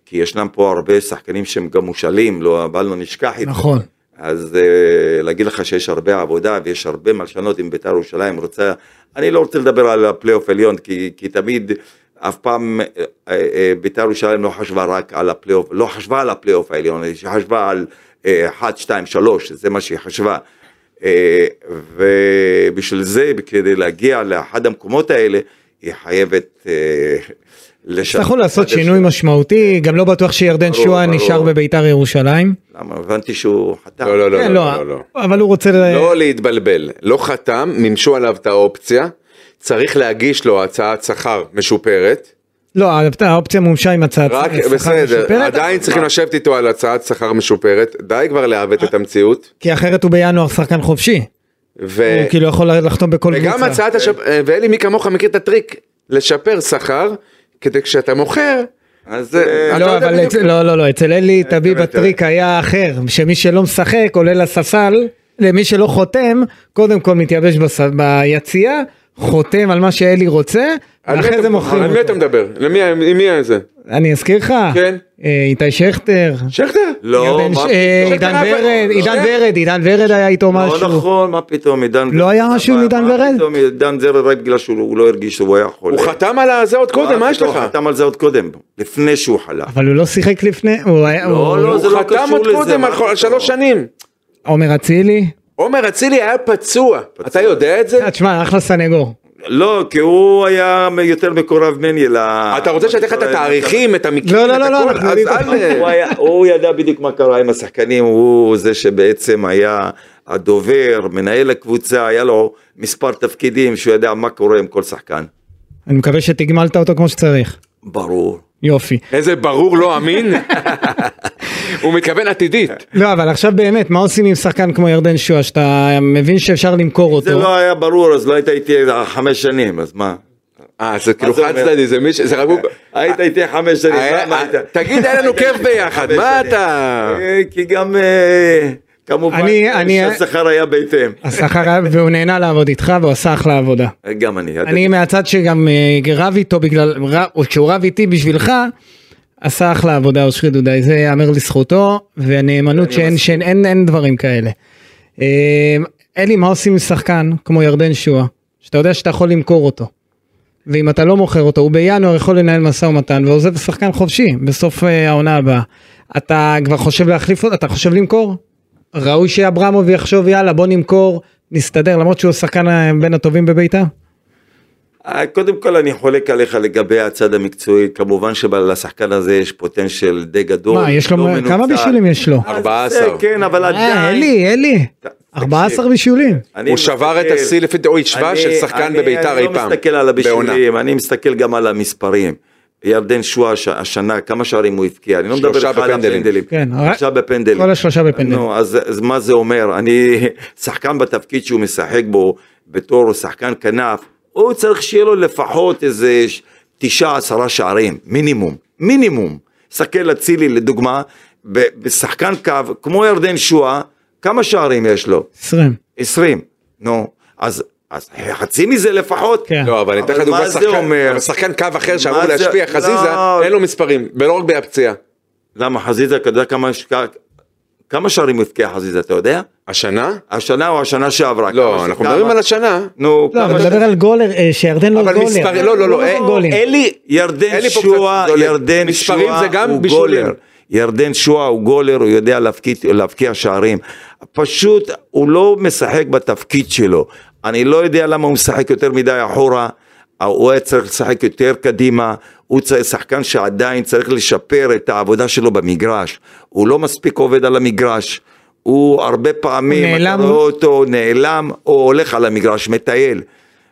[SPEAKER 2] כי ישנם פה הרבה שחקנים שהם גם מושאלים, לא, בל לא נשכח את זה.
[SPEAKER 1] נכון.
[SPEAKER 2] אז אה, להגיד לך שיש הרבה עבודה ויש הרבה מלשנות עם בית"ר ירושלים רוצה, אני לא רוצה לדבר על הפלייאוף עליון, כי, כי תמיד, אף פעם אה, אה, אה, בית"ר ירושלים לא חשבה רק על הפלייאוף, לא חשבה על הפלייאוף העליון, היא חשבה על אה, 1, 2, 3, זה מה שהיא חשבה. אה, ובשביל זה, כדי להגיע לאחד המקומות האלה, היא חייבת אה, לשנות.
[SPEAKER 1] יצטרכו לעשות שינוי משמעותי, גם לא בטוח שירדן
[SPEAKER 2] ברור,
[SPEAKER 1] שואה
[SPEAKER 2] ברור.
[SPEAKER 1] נשאר בביתר ירושלים.
[SPEAKER 2] למה? הבנתי שהוא חתם.
[SPEAKER 4] לא, לא, לא,
[SPEAKER 1] כן,
[SPEAKER 4] לא, לא, לא.
[SPEAKER 1] אבל הוא רוצה... ל-
[SPEAKER 4] לא להתבלבל, לא חתם, מימשו עליו את האופציה, צריך להגיש לו הצעת שכר משופרת,
[SPEAKER 1] לא, האופ- האופציה מומשה עם הצעת
[SPEAKER 4] רק
[SPEAKER 1] שכר משופרת,
[SPEAKER 4] בסדר, עדיין צריכים לשבת איתו על הצעת שכר משופרת, די כבר
[SPEAKER 1] אה?
[SPEAKER 4] לעוות את המציאות,
[SPEAKER 1] כי אחרת הוא בינואר שחקן חופשי.
[SPEAKER 4] ו-
[SPEAKER 1] הוא כאילו יכול לחתום בכל
[SPEAKER 4] אה, וגם
[SPEAKER 1] קבוצה.
[SPEAKER 4] הצעת השפ... אה, ואלי מי כמוך מכיר את הטריק, לשפר שכר, כדי כשאתה מוכר,
[SPEAKER 2] אז
[SPEAKER 4] זה-
[SPEAKER 2] אה,
[SPEAKER 4] אתה
[SPEAKER 1] לא,
[SPEAKER 4] יודע
[SPEAKER 1] אבל
[SPEAKER 4] בדיוק. אה,
[SPEAKER 1] אצל- לא, לא, לא, אצל אלי טביב
[SPEAKER 4] באמת,
[SPEAKER 1] הטריק היה אחר, שמי שלא משחק עולה לספסל, למי שלא חותם, קודם כל מתייבש בס- ביציאה, חותם על מה שאלי רוצה,
[SPEAKER 4] על מי
[SPEAKER 1] ואחרי
[SPEAKER 4] אתה-
[SPEAKER 1] זה מוכרים
[SPEAKER 4] על מי אתה
[SPEAKER 1] אותו.
[SPEAKER 4] מדבר? למי עם מי זה?
[SPEAKER 1] אני אזכיר לך,
[SPEAKER 4] כן.
[SPEAKER 1] אה, איתי שכטר,
[SPEAKER 4] שכטר?
[SPEAKER 2] לא,
[SPEAKER 1] ירדן ש-
[SPEAKER 2] מה
[SPEAKER 1] אה,
[SPEAKER 2] פתאום.
[SPEAKER 1] עידן
[SPEAKER 4] שכטר היה-
[SPEAKER 1] ורד, עידן
[SPEAKER 4] כן.
[SPEAKER 1] ורד, עידן ורד היה איתו
[SPEAKER 2] לא
[SPEAKER 1] משהו.
[SPEAKER 2] נכון, מה פתאום עידן
[SPEAKER 1] לא היה משהו עם עידן ורד?
[SPEAKER 2] מה פתאום עידן ורד רק בגלל שהוא לא הרגיש שהוא היה חולה.
[SPEAKER 4] הוא חתם על זה עוד קודם, מה יש
[SPEAKER 2] פתאום,
[SPEAKER 4] לך?
[SPEAKER 2] הוא לא חתם על זה עוד קודם, לפני שהוא חלה.
[SPEAKER 1] אבל הוא לא שיחק לפני, הוא היה,
[SPEAKER 2] לא,
[SPEAKER 1] הוא-
[SPEAKER 2] לא, זה
[SPEAKER 4] הוא חתם
[SPEAKER 2] קשור
[SPEAKER 4] עוד
[SPEAKER 2] לזה,
[SPEAKER 4] קודם
[SPEAKER 2] מה
[SPEAKER 4] על כל- על
[SPEAKER 2] פתאום?
[SPEAKER 4] שלוש שנים.
[SPEAKER 1] עומר אצילי,
[SPEAKER 4] עומר אצילי היה פצוע, אתה יודע את זה?
[SPEAKER 1] אה, תשמע, אחלה סנגור.
[SPEAKER 2] לא, כי הוא היה יותר מקורב ממני ל...
[SPEAKER 4] אתה רוצה שאני אתן
[SPEAKER 2] לא
[SPEAKER 4] לך את התאריכים, את המקרים,
[SPEAKER 1] לא,
[SPEAKER 4] את
[SPEAKER 1] לא, לא, לא,
[SPEAKER 4] הכל?
[SPEAKER 1] אנחנו
[SPEAKER 4] אז
[SPEAKER 1] יודעים את
[SPEAKER 4] אל-
[SPEAKER 2] הוא היה- הוא ידע בדיוק מה קרה עם השחקנים, הוא זה שבעצם היה הדובר, מנהל הקבוצה, היה לו מספר תפקידים שהוא ידע מה קורה עם כל שחקן.
[SPEAKER 1] אני מקווה שתגמלת אותו כמו שצריך.
[SPEAKER 2] ברור.
[SPEAKER 1] יופי.
[SPEAKER 4] איזה ברור
[SPEAKER 1] <laughs>
[SPEAKER 4] לא אמין. הוא מתכוון
[SPEAKER 2] <laughs>
[SPEAKER 4] עתידית.
[SPEAKER 1] לא, אבל עכשיו באמת, מה עושים עם שחקן כמו ירדן שואה, שאתה מבין שאפשר למכור
[SPEAKER 2] זה
[SPEAKER 1] אותו?
[SPEAKER 2] לא היה ברור, אז לא היית איתי חמש שנים, אז מה?
[SPEAKER 4] אה, זה כאילו
[SPEAKER 2] מה זה
[SPEAKER 4] חד
[SPEAKER 2] אומר? אה.
[SPEAKER 4] צדדי, זה מי ש... זה רק... הוא-
[SPEAKER 2] היית איתי חמש שנים,
[SPEAKER 4] היה-
[SPEAKER 2] למה היית?
[SPEAKER 4] אה, תגיד, היה לנו כיף ביחד, מה
[SPEAKER 2] חמש שנים.
[SPEAKER 4] אתה...
[SPEAKER 2] אה, כי גם אה, כמובן
[SPEAKER 1] אני-
[SPEAKER 2] אה,
[SPEAKER 1] אני-
[SPEAKER 2] שהשכר היה בהתאם.
[SPEAKER 1] השכר היה, והוא נהנה לעבוד איתך והוא עשה אחלה עבודה.
[SPEAKER 2] אה, גם אני.
[SPEAKER 1] אני מהצד שגם אה, רב איתו בגלל, רב- או כשהוא רב איתי בשבילך, עשה אחלה עבודה אושרי דודאי, זה יאמר לזכותו, ונאמנות שאין שאין אין, אין דברים כאלה. אה, אלי, מה עושים עם שחקן כמו ירדן שואה, שאתה יודע שאתה יכול למכור אותו, ואם אתה לא מוכר אותו, הוא בינואר יכול לנהל משא ומתן ועוזב שחקן חופשי בסוף אה, העונה הבאה. אתה כבר חושב להחליף אותו, אתה חושב למכור? ראוי שאברמוב יחשוב יאללה בוא נמכור, נסתדר, למרות שהוא שחקן אה, בין הטובים בביתר?
[SPEAKER 2] אה, קודם כל אני חולק עליך לגבי הצד המקצועי, כמובן שלשחקן הזה יש פוטנציאל די גדול.
[SPEAKER 1] מה, יש לו,
[SPEAKER 2] לא מנוצל.
[SPEAKER 1] כמה בישולים יש לו?
[SPEAKER 2] אז
[SPEAKER 4] 14.
[SPEAKER 2] זה כן, אבל
[SPEAKER 1] אה,
[SPEAKER 2] עדיין.
[SPEAKER 1] אלי, אלי,
[SPEAKER 2] ת- תקשיב.
[SPEAKER 1] 14 בישולים.
[SPEAKER 2] אני
[SPEAKER 4] הוא שבר את
[SPEAKER 2] מסתכל-
[SPEAKER 4] השיא לפי דעוי שווה
[SPEAKER 2] אני-
[SPEAKER 4] של שחקן
[SPEAKER 2] אני-
[SPEAKER 4] בביתר אי פעם.
[SPEAKER 2] אני לא מסתכל על
[SPEAKER 4] בעונה.
[SPEAKER 2] הבישולים, אני מסתכל גם על המספרים. ירדן שואה הש- השנה, כמה שערים הוא הבקיע, אני לא מדבר
[SPEAKER 4] שלושה
[SPEAKER 2] איתך על
[SPEAKER 4] בפנדלים.
[SPEAKER 2] הפנדלים.
[SPEAKER 1] כן,
[SPEAKER 2] שלושה בפנדלים.
[SPEAKER 1] כל השלושה בפנדלים.
[SPEAKER 2] נו, אז, אז מה זה אומר? אני <laughs> שחקן בתפקיד שהוא משחק בו בתור שחקן כנף, הוא צריך שיהיה לו לפחות איזה ש- תשעה עשרה שערים, מינימום, מינימום. סתכל אצילי לדוגמה, ב- בשחקן קו, כמו ירדן שואה, כמה שערים יש לו?
[SPEAKER 1] 20.
[SPEAKER 2] 20. נו, אז, אז חצי מזה לפחות.
[SPEAKER 1] כן.
[SPEAKER 4] לא, אבל אני אתן לך
[SPEAKER 2] אבל
[SPEAKER 4] דוגמא
[SPEAKER 2] מה זה
[SPEAKER 4] שחקן-
[SPEAKER 2] אומר?
[SPEAKER 4] אבל שחקן קו אחר שאמור
[SPEAKER 2] מה זה-
[SPEAKER 4] להשפיע,
[SPEAKER 2] לא.
[SPEAKER 4] חזיזה, אין לו מספרים, ולא רק בהפציעה.
[SPEAKER 2] למה חזיזה, אתה יודע כמה, שק... כמה שערים הבקיע חזיזה, אתה יודע?
[SPEAKER 4] השנה?
[SPEAKER 2] השנה או השנה שעברה?
[SPEAKER 4] לא,
[SPEAKER 2] כמה-
[SPEAKER 4] אנחנו
[SPEAKER 2] כמה?
[SPEAKER 4] מדברים על השנה.
[SPEAKER 2] נו,
[SPEAKER 1] לא,
[SPEAKER 2] כמה-
[SPEAKER 1] אבל מדבר על גולר, אה, שירדן לא
[SPEAKER 4] אבל
[SPEAKER 1] גולר.
[SPEAKER 4] מספרים, לא, לא, לא, אה,
[SPEAKER 1] הוא גולים.
[SPEAKER 4] אלי, אין
[SPEAKER 2] ירדן
[SPEAKER 4] לי פה
[SPEAKER 2] שואה,
[SPEAKER 4] קצת גולים.
[SPEAKER 2] ירדן
[SPEAKER 4] מספרים
[SPEAKER 2] שואה
[SPEAKER 4] זה גם
[SPEAKER 2] הוא
[SPEAKER 4] בישולים.
[SPEAKER 2] גולר. ירדן שואה הוא גולר, הוא יודע להבקיע, להבקיע שערים. פשוט הוא לא משחק בתפקיד שלו. אני לא יודע למה הוא משחק יותר מדי אחורה. הוא היה צריך לשחק יותר קדימה, הוא צריך- שחקן שעדיין צריך לשפר את העבודה שלו במגרש. הוא לא מספיק עובד על המגרש, הוא הרבה פעמים, אתה לא-
[SPEAKER 1] נעלם.
[SPEAKER 2] רואה אותו נעלם או הולך על המגרש, מטייל.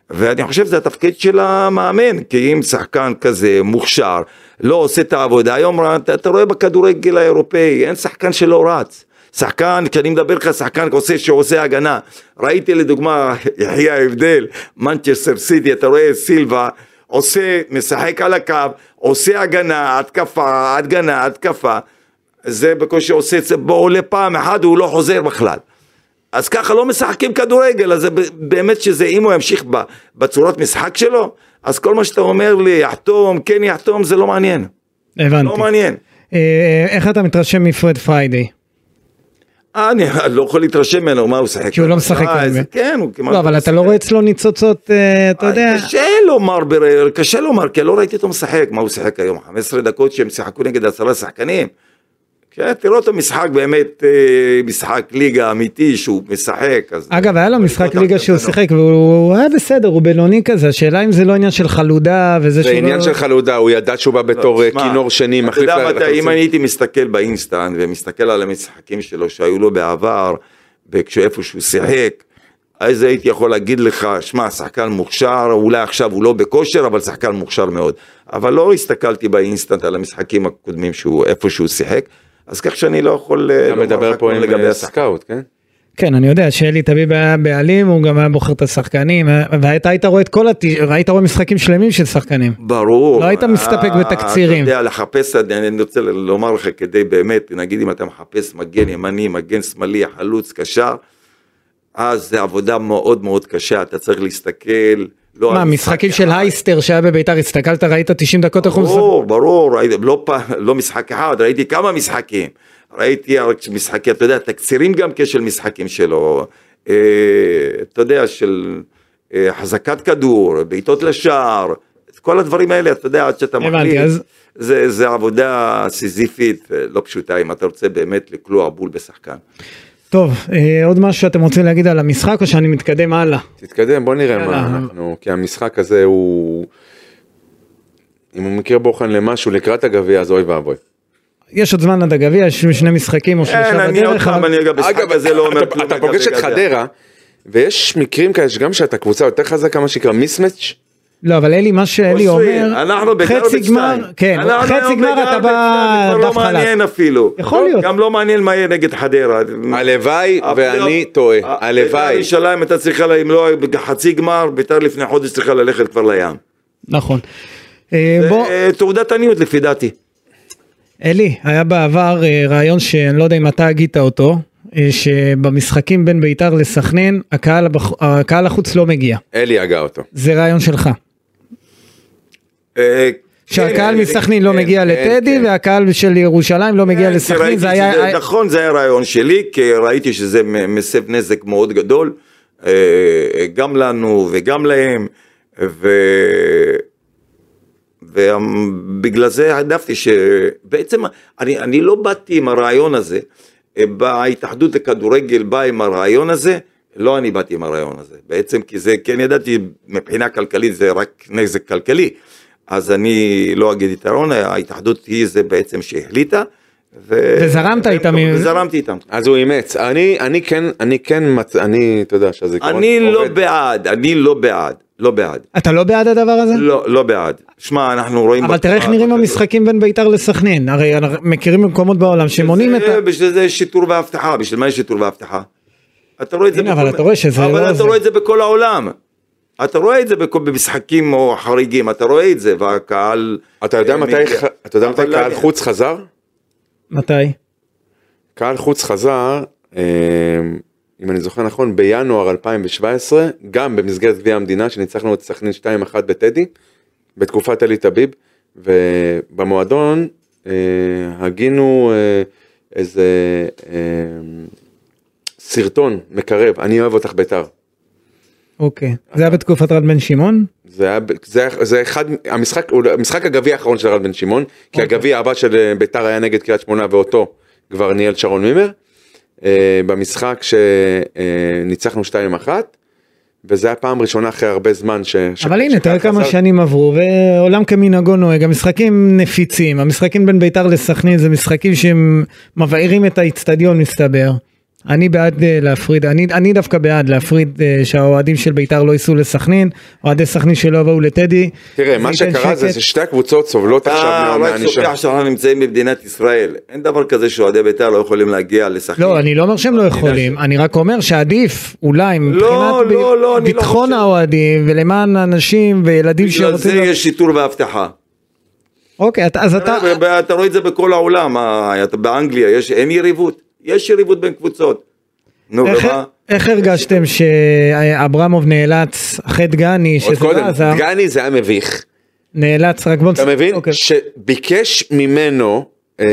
[SPEAKER 2] ואני חושב שזה התפקיד של המאמן, כי אם שחקן כזה מוכשר לא עושה את העבודה, היום אתה, אתה רואה בכדורגל האירופאי, אין שחקן שלא רץ. שחקן, כשאני מדבר לך, שחקן עושה שעושה הגנה. ראיתי לדוגמה, <laughs> יחי ההבדל, מנצ'סטר סיטי, אתה רואה סילבה, עושה, משחק על הקו, עושה הגנה, התקפה, הגנה, התקפה. זה בקושי עושה את זה, בוא עולה פעם אחת, הוא לא חוזר בכלל. אז ככה לא משחקים כדורגל, אז זה ב- באמת שזה, אם הוא ימשיך ב- בצורת משחק שלו, אז כל מה שאתה אומר לי, יחתום, כן יחתום, זה לא מעניין. לא
[SPEAKER 1] הבנתי.
[SPEAKER 2] מעניין.
[SPEAKER 1] אה, איך אתה מתרשם מפרד פריידי?
[SPEAKER 2] אה, אני <laughs> לא יכול להתרשם ממנו, מה הוא שיחק?
[SPEAKER 1] כי הוא לא משחק
[SPEAKER 2] אה,
[SPEAKER 1] הרבה.
[SPEAKER 2] זה- כן, הוא כמעט...
[SPEAKER 1] לא, אבל אתה לא רואה אצלו ניצוצות, אה, אתה
[SPEAKER 2] אה,
[SPEAKER 1] יודע.
[SPEAKER 2] קשה לומר, בר- קשה לומר, כי לא ראיתי אותו משחק. מה הוא שיחק היום? 15 דקות שהם שיחקו נגד עשרה שחקנים. כן, תראו אותו משחק באמת, אה, משחק ליגה אמיתי שהוא משחק. אז-
[SPEAKER 1] אגב, היה לו משחק
[SPEAKER 2] לא
[SPEAKER 1] ליגה
[SPEAKER 2] דווקא
[SPEAKER 1] שהוא
[SPEAKER 2] לא.
[SPEAKER 1] שיחק והוא היה בסדר, הוא בינוני כזה, השאלה אם זה לא עניין של חלודה וזה
[SPEAKER 4] זה
[SPEAKER 1] שהוא
[SPEAKER 4] עניין
[SPEAKER 1] לא-
[SPEAKER 4] של חלודה, הוא ידע שהוא בא בתור אה,
[SPEAKER 2] תשמע,
[SPEAKER 4] כינור שני,
[SPEAKER 2] לא, אתה
[SPEAKER 4] מחליף
[SPEAKER 2] יודע
[SPEAKER 4] ל-
[SPEAKER 2] מתי,
[SPEAKER 4] לחלוצים.
[SPEAKER 2] אם אני הייתי מסתכל באינסטנט ומסתכל על המשחקים שלו שהיו לו בעבר, כשאיפה שהוא שיחק, אז הייתי יכול להגיד לך, שמע, שחקן מוכשר, אולי עכשיו הוא לא בכושר, אבל שחקן מוכשר מאוד. אבל לא הסתכלתי באינסטנט על המשחקים הקודמים שהוא, איפה שהוא שיחק, אז כך שאני לא יכול... אה,
[SPEAKER 4] אתה
[SPEAKER 2] לומר
[SPEAKER 4] מדבר
[SPEAKER 2] לך
[SPEAKER 4] פה
[SPEAKER 2] כלום
[SPEAKER 4] עם
[SPEAKER 2] לגבי
[SPEAKER 4] אה,
[SPEAKER 2] השחקן.
[SPEAKER 4] סקאוט, כן?
[SPEAKER 1] כן, אני יודע שאלי תביב היה בעלים, הוא גם היה בוחר את השחקנים, אה, ואתה היית רואה את כל, הת- היית רואה משחקים שלמים של שחקנים.
[SPEAKER 2] ברור.
[SPEAKER 1] לא היית מסתפק
[SPEAKER 2] אה,
[SPEAKER 1] בתקצירים.
[SPEAKER 2] אתה יודע, לחפש, אני אני רוצה לומר לך כדי באמת, נגיד אם אתה מחפש מגן ימני, מגן שמאלי, חלוץ, קשר, אז זה עבודה מאוד מאוד קשה, אתה צריך להסתכל. לא
[SPEAKER 1] מה,
[SPEAKER 2] על
[SPEAKER 1] משחקים
[SPEAKER 2] משחק
[SPEAKER 1] של
[SPEAKER 2] אחד.
[SPEAKER 1] הייסטר שהיה בביתר, הסתכלת, ראית 90 דקות איך הוא משחק?
[SPEAKER 2] ברור, ברור, ראיתי- לא, פ- לא משחק אחד, ראיתי כמה משחקים. ראיתי רק משחקים, אתה יודע, תקצירים גם כן של משחקים שלו. אה, אתה יודע, של אה, החזקת כדור, בעיטות לשער, את כל הדברים האלה, אתה יודע, עד שאתה
[SPEAKER 1] הבנתי,
[SPEAKER 2] מחליט.
[SPEAKER 1] אז-
[SPEAKER 2] זה, זה עבודה סיזיפית, אה, לא פשוטה, אם אתה רוצה באמת לקלוע בול בשחקן.
[SPEAKER 1] טוב, אה, עוד משהו שאתם רוצים להגיד על המשחק או שאני מתקדם הלאה?
[SPEAKER 4] תתקדם, בוא נראה
[SPEAKER 1] יאללה.
[SPEAKER 4] מה אנחנו, כי המשחק הזה הוא... אם הוא מכיר בוחן למשהו לקראת הגביע, אז אוי ואבוי.
[SPEAKER 1] יש עוד זמן עד הגביע, יש שני משחקים או שלושה
[SPEAKER 2] כן, אני עוד
[SPEAKER 1] בדרך,
[SPEAKER 2] פעם,
[SPEAKER 1] אבל
[SPEAKER 2] אני רגע,
[SPEAKER 4] אגב,
[SPEAKER 2] בשחק הזה לא אומר
[SPEAKER 4] אתה-
[SPEAKER 2] כלום.
[SPEAKER 4] אתה
[SPEAKER 2] לגבי
[SPEAKER 4] פוגש את
[SPEAKER 2] גביע.
[SPEAKER 4] חדרה, ויש מקרים כאלה שגם שאתה קבוצה יותר חזקה, מה שנקרא מיסמץ',
[SPEAKER 1] לא, אבל אלי, מה שאלי
[SPEAKER 2] עוזרי,
[SPEAKER 1] אומר,
[SPEAKER 2] אנחנו בגרבג'
[SPEAKER 1] חצי גמר,
[SPEAKER 2] time.
[SPEAKER 1] כן,
[SPEAKER 2] אנחנו
[SPEAKER 1] חצי
[SPEAKER 2] היום
[SPEAKER 1] גמר אתה
[SPEAKER 2] בגרבג' time,
[SPEAKER 1] בא
[SPEAKER 2] כבר לא
[SPEAKER 1] דף חלק.
[SPEAKER 2] מעניין אפילו.
[SPEAKER 1] יכול להיות.
[SPEAKER 2] גם לא מעניין מה יהיה נגד חדרה.
[SPEAKER 4] הלוואי
[SPEAKER 2] הפלייאוף-
[SPEAKER 4] ואני טועה,
[SPEAKER 2] ה- בית"ר
[SPEAKER 4] הלוואי.
[SPEAKER 2] אה, ירושלים הייתה צריכה, לה- אם לא חצי גמר, ביתר לפני חודש צריכה ללכת כבר לים.
[SPEAKER 1] נכון. אה, בוא,
[SPEAKER 2] זה, אה, תעודת עניות לפי דעתי.
[SPEAKER 1] אלי, היה בעבר אה, רעיון שאני לא יודע אם אתה הגית אותו, אה, שבמשחקים בין ביתר לסכנין, הקהל הבח- הקהל החוץ לא מגיע.
[SPEAKER 4] אלי הגה אותו.
[SPEAKER 1] זה רעיון שלך.
[SPEAKER 2] אה,
[SPEAKER 1] שהקהל
[SPEAKER 2] כן,
[SPEAKER 1] מסכנין לא
[SPEAKER 4] כן,
[SPEAKER 1] מגיע
[SPEAKER 4] כן,
[SPEAKER 1] לטדי
[SPEAKER 4] כן.
[SPEAKER 1] והקהל של ירושלים לא מגיע
[SPEAKER 2] כן,
[SPEAKER 1] לסכנין,
[SPEAKER 2] שראיתי
[SPEAKER 1] זה היה...
[SPEAKER 2] שזה- נכון, זה היה רעיון שלי, כי ראיתי שזה מ- מסב נזק מאוד גדול, אה, גם לנו וגם להם, ו... ובגלל זה העדפתי שבעצם אני, אני לא באתי עם הרעיון הזה, אה, בהתאחדות לכדורגל באה עם הרעיון הזה, לא אני באתי עם הרעיון הזה, בעצם כי זה, כן ידעתי מבחינה כלכלית זה רק נזק כלכלי, אז אני לא אגיד יתרון, ההתאחדות היא זה בעצם שהחליטה. ו...
[SPEAKER 1] וזרמת איתם.
[SPEAKER 2] וזרמתי איתם.
[SPEAKER 4] אז הוא אימץ. אני, אני כן, אני כן, מצ... אני, אתה יודע שהזיכרון
[SPEAKER 2] אני לא בעד, אני לא בעד, לא בעד.
[SPEAKER 1] אתה לא בעד הדבר הזה?
[SPEAKER 2] לא, אה, לא בעד. שמע, אנחנו רואים...
[SPEAKER 1] אבל תראה איך נראים המשחקים בין ביתר לסכנין, הרי אנחנו מכירים מקומות בעולם שמונעים את ה...
[SPEAKER 2] זה- בשביל זה יש שיטור ואבטחה, בשביל מה יש שיטור ואבטחה? אתה רואה את זה
[SPEAKER 1] הנה, אבל
[SPEAKER 2] בכל-
[SPEAKER 1] אתה רואה שזה
[SPEAKER 2] אבל
[SPEAKER 1] לא
[SPEAKER 2] אתה
[SPEAKER 1] זה.
[SPEAKER 2] רואה את זה בכל העולם. אתה רואה את זה בכל- במשחקים או חריגים, אתה רואה את זה, והקהל...
[SPEAKER 4] אתה יודע
[SPEAKER 2] אה,
[SPEAKER 4] מתי,
[SPEAKER 2] מגיע.
[SPEAKER 4] ח... אתה לא יודע מתי
[SPEAKER 2] אבל
[SPEAKER 4] קהל
[SPEAKER 2] אני-
[SPEAKER 4] חוץ חזר?
[SPEAKER 1] מתי?
[SPEAKER 4] קהל חוץ חזר, אה, אם אני זוכר נכון, בינואר 2017, גם במסגרת גביע המדינה, שניצחנו את סכנין 2-1 בטדי, בתקופת אלי טביב, ובמועדון אה, הגינו אה, איזה אה, סרטון מקרב, אני אוהב אותך בית"ר.
[SPEAKER 1] אוקיי. זה
[SPEAKER 2] אה,
[SPEAKER 1] היה בתקופת רד בן שמעון?
[SPEAKER 4] זה היה, ב- זה, היה- זה אחד, המשחק, הוא- לא- המשחק הגביע האחרון של רן בן שמעון,
[SPEAKER 1] אוקיי.
[SPEAKER 4] כי הגביע הבא של אה, ביתר היה נגד קריית שמונה ואותו כבר ניהל שרון מימר, אה, במשחק אה, שניצחנו 2-1, וזה היה פעם ראשונה אחרי הרבה זמן ש... ש-
[SPEAKER 1] אבל הנה, תראה
[SPEAKER 4] שחזר-
[SPEAKER 1] כמה שנים עברו, ועולם כמנהגו נוהג, המשחקים נפיצים, המשחקים בין ביתר לסכנין זה משחקים שהם מבעירים את האיצטדיון מסתבר. אני בעד אה, להפריד, אני, אני דווקא בעד להפריד אה, שהאוהדים של ביתר לא ייסעו לסכנין, אוהדי סכנין שלא יבואו לטדי.
[SPEAKER 4] תראה, מה
[SPEAKER 1] ייתן
[SPEAKER 4] שקרה זה
[SPEAKER 1] שקט.
[SPEAKER 4] ששתי הקבוצות סובלות
[SPEAKER 2] אתה
[SPEAKER 4] עכשיו לא
[SPEAKER 2] רק
[SPEAKER 4] מהענישה.
[SPEAKER 2] שוכח שאנחנו נמצאים במדינת ישראל. אין דבר כזה שאוהדי בית"ר לא יכולים להגיע לסכנין.
[SPEAKER 1] לא, אני לא אומר שהם לא יכולים, אני רק אומר שעדיף, אולי, מבחינת
[SPEAKER 2] לא,
[SPEAKER 1] ב-
[SPEAKER 2] לא, לא, אני לא
[SPEAKER 1] ביטחון
[SPEAKER 2] חושב.
[SPEAKER 1] האוהדים ולמען אנשים וילדים
[SPEAKER 2] בגלל
[SPEAKER 1] שרוצים...
[SPEAKER 2] זה לא,
[SPEAKER 1] להיות-
[SPEAKER 2] יש שיטור ואבטחה.
[SPEAKER 1] אוקיי, אתה- אז אתה...
[SPEAKER 2] אתה... אתה רואה את זה בכל העולם, ה- אתה באנגליה, יש, אין יריבות, יש יריבות בין קבוצות. נו,
[SPEAKER 1] איך-
[SPEAKER 2] ומה?
[SPEAKER 1] איך הרגשתם שאברמוב נאלץ אחרי דגני
[SPEAKER 4] עוד
[SPEAKER 1] שזה
[SPEAKER 4] קודם,
[SPEAKER 1] לא עזר
[SPEAKER 4] דגני זה היה מביך.
[SPEAKER 1] נאלץ רק בוא
[SPEAKER 4] אתה
[SPEAKER 1] נס-
[SPEAKER 4] מבין?
[SPEAKER 1] אוקיי.
[SPEAKER 4] שביקש ממנו, אה,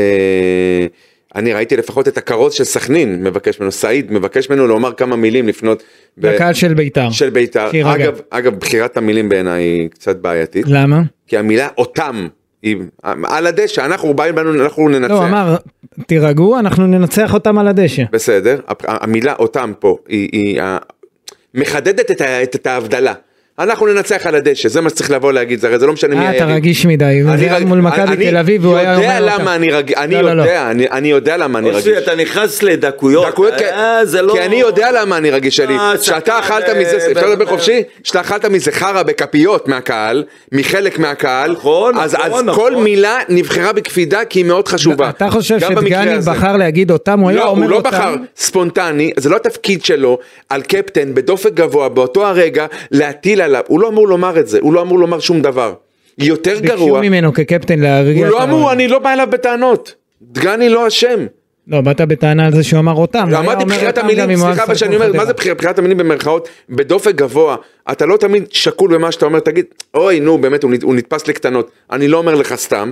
[SPEAKER 4] אני ראיתי לפחות את הכרוז של סכנין מבקש ממנו, סעיד מבקש ממנו לומר כמה מילים לפנות. ב-
[SPEAKER 1] לקהל של בית"ר
[SPEAKER 4] של בית"ר.
[SPEAKER 1] תירגע.
[SPEAKER 4] אגב, אגב, בחירת המילים בעיניי היא קצת בעייתית,
[SPEAKER 1] למה?
[SPEAKER 4] כי המילה אותם, היא על הדשא, אנחנו באים בנו, אנחנו ננצח.
[SPEAKER 1] לא אמר תירגעו אנחנו ננצח אותם על הדשא
[SPEAKER 4] בסדר, הפ- המילה אותם פה היא, היא ה- מחדדת את, ה- את, את ההבדלה. אנחנו ננצח על הדשא, זה מה שצריך לבוא להגיד, זה הרי זה לא משנה מי
[SPEAKER 1] אה, אתה
[SPEAKER 4] היריב.
[SPEAKER 1] רגיש מדי
[SPEAKER 4] אני
[SPEAKER 1] זה היה
[SPEAKER 4] רג-
[SPEAKER 1] מול
[SPEAKER 4] אני-
[SPEAKER 1] מכבי תל אביב והוא היה
[SPEAKER 4] יודע
[SPEAKER 1] אומר
[SPEAKER 4] למה
[SPEAKER 1] אותם.
[SPEAKER 4] אני רגיש, אני
[SPEAKER 1] לא, לא, לא.
[SPEAKER 4] יודע, אני- אני יודע למה אני רגיש.
[SPEAKER 2] אוסי, אתה נכנס לדקויות.
[SPEAKER 4] דקויות, כי-
[SPEAKER 2] אה, זה לא...
[SPEAKER 4] כי אני יודע למה אני רגיש שלי.
[SPEAKER 2] אה,
[SPEAKER 4] שאתה
[SPEAKER 2] שחקן,
[SPEAKER 4] אכלת
[SPEAKER 2] אה,
[SPEAKER 4] מזה,
[SPEAKER 2] אה,
[SPEAKER 4] אפשר לדבר
[SPEAKER 2] אה,
[SPEAKER 4] חופשי? שאתה אכלת מזה חרא בכפיות מהקהל, מחלק מהקהל.
[SPEAKER 2] נכון,
[SPEAKER 4] אז- אז
[SPEAKER 2] נכון,
[SPEAKER 4] כל
[SPEAKER 2] נכון.
[SPEAKER 4] מילה נבחרה בקפידה כי היא מאוד חשובה.
[SPEAKER 1] אתה חושב
[SPEAKER 4] גם במקרה
[SPEAKER 1] שדגני
[SPEAKER 4] הזה.
[SPEAKER 1] בחר להגיד אותם הוא היה
[SPEAKER 4] לא, הוא
[SPEAKER 1] אומר
[SPEAKER 4] לא
[SPEAKER 1] אותם
[SPEAKER 4] בחר ספונטני, זה לא התפקיד שלו, על קפטן בדופק גבוה באותו הרגע להטיל עליו, הוא לא אמור לומר את זה, הוא לא אמור לומר שום דבר. יותר
[SPEAKER 1] ביקשו
[SPEAKER 4] גרוע,
[SPEAKER 1] ממנו כקפטן להרגיע
[SPEAKER 4] הוא
[SPEAKER 1] את
[SPEAKER 4] לא אמור,
[SPEAKER 1] האוהד.
[SPEAKER 4] אני לא בא אליו בטענות. דגני לא אשם.
[SPEAKER 1] לא באת בטענה על זה שהוא אמר אותם הוא היה
[SPEAKER 4] אמרתי
[SPEAKER 1] אומר
[SPEAKER 4] בחירת
[SPEAKER 1] אותם גם
[SPEAKER 4] המילים,
[SPEAKER 1] אם הוא היה
[SPEAKER 4] סליחה, אבל
[SPEAKER 1] משחק
[SPEAKER 4] שאני אומר,
[SPEAKER 1] בחדרה.
[SPEAKER 4] מה זה בחיר- בחירת המילים במרכאות? בדופק גבוה, אתה לא תמיד שקול במה שאתה אומר, תגיד, אוי, נו, באמת, הוא נד- הוא נתפס לקטנות, אני לא אומר לך סתם.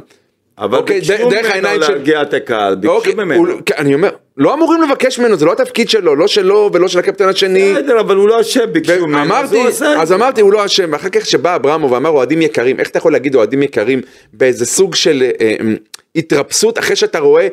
[SPEAKER 2] אבל
[SPEAKER 4] אוקיי, ד-
[SPEAKER 2] ביקשו
[SPEAKER 4] דרך
[SPEAKER 2] ממנו
[SPEAKER 4] העיניים של-
[SPEAKER 2] להרגיע את הקהל,
[SPEAKER 4] אוקיי,
[SPEAKER 2] ביקשו ממנו.
[SPEAKER 4] הוא- כן, אני אומר, לא אמורים לבקש ממנו, זה לא התפקיד שלו, לא שלו ולא של הקפטן השני.
[SPEAKER 2] בסדר, אבל הוא לא אשם, ביקשו ממנו.
[SPEAKER 4] אמרתי,
[SPEAKER 2] הוא עשה את
[SPEAKER 4] אז
[SPEAKER 2] זה.
[SPEAKER 4] אמרתי הוא לא אשם, ואחר כך שבא אברמוב ואמר אוהדים יקרים, איך אתה יכול להגיד אוהדים יקרים באיזה סוג של אה, אה, התרפסות אחרי שאתה רואה,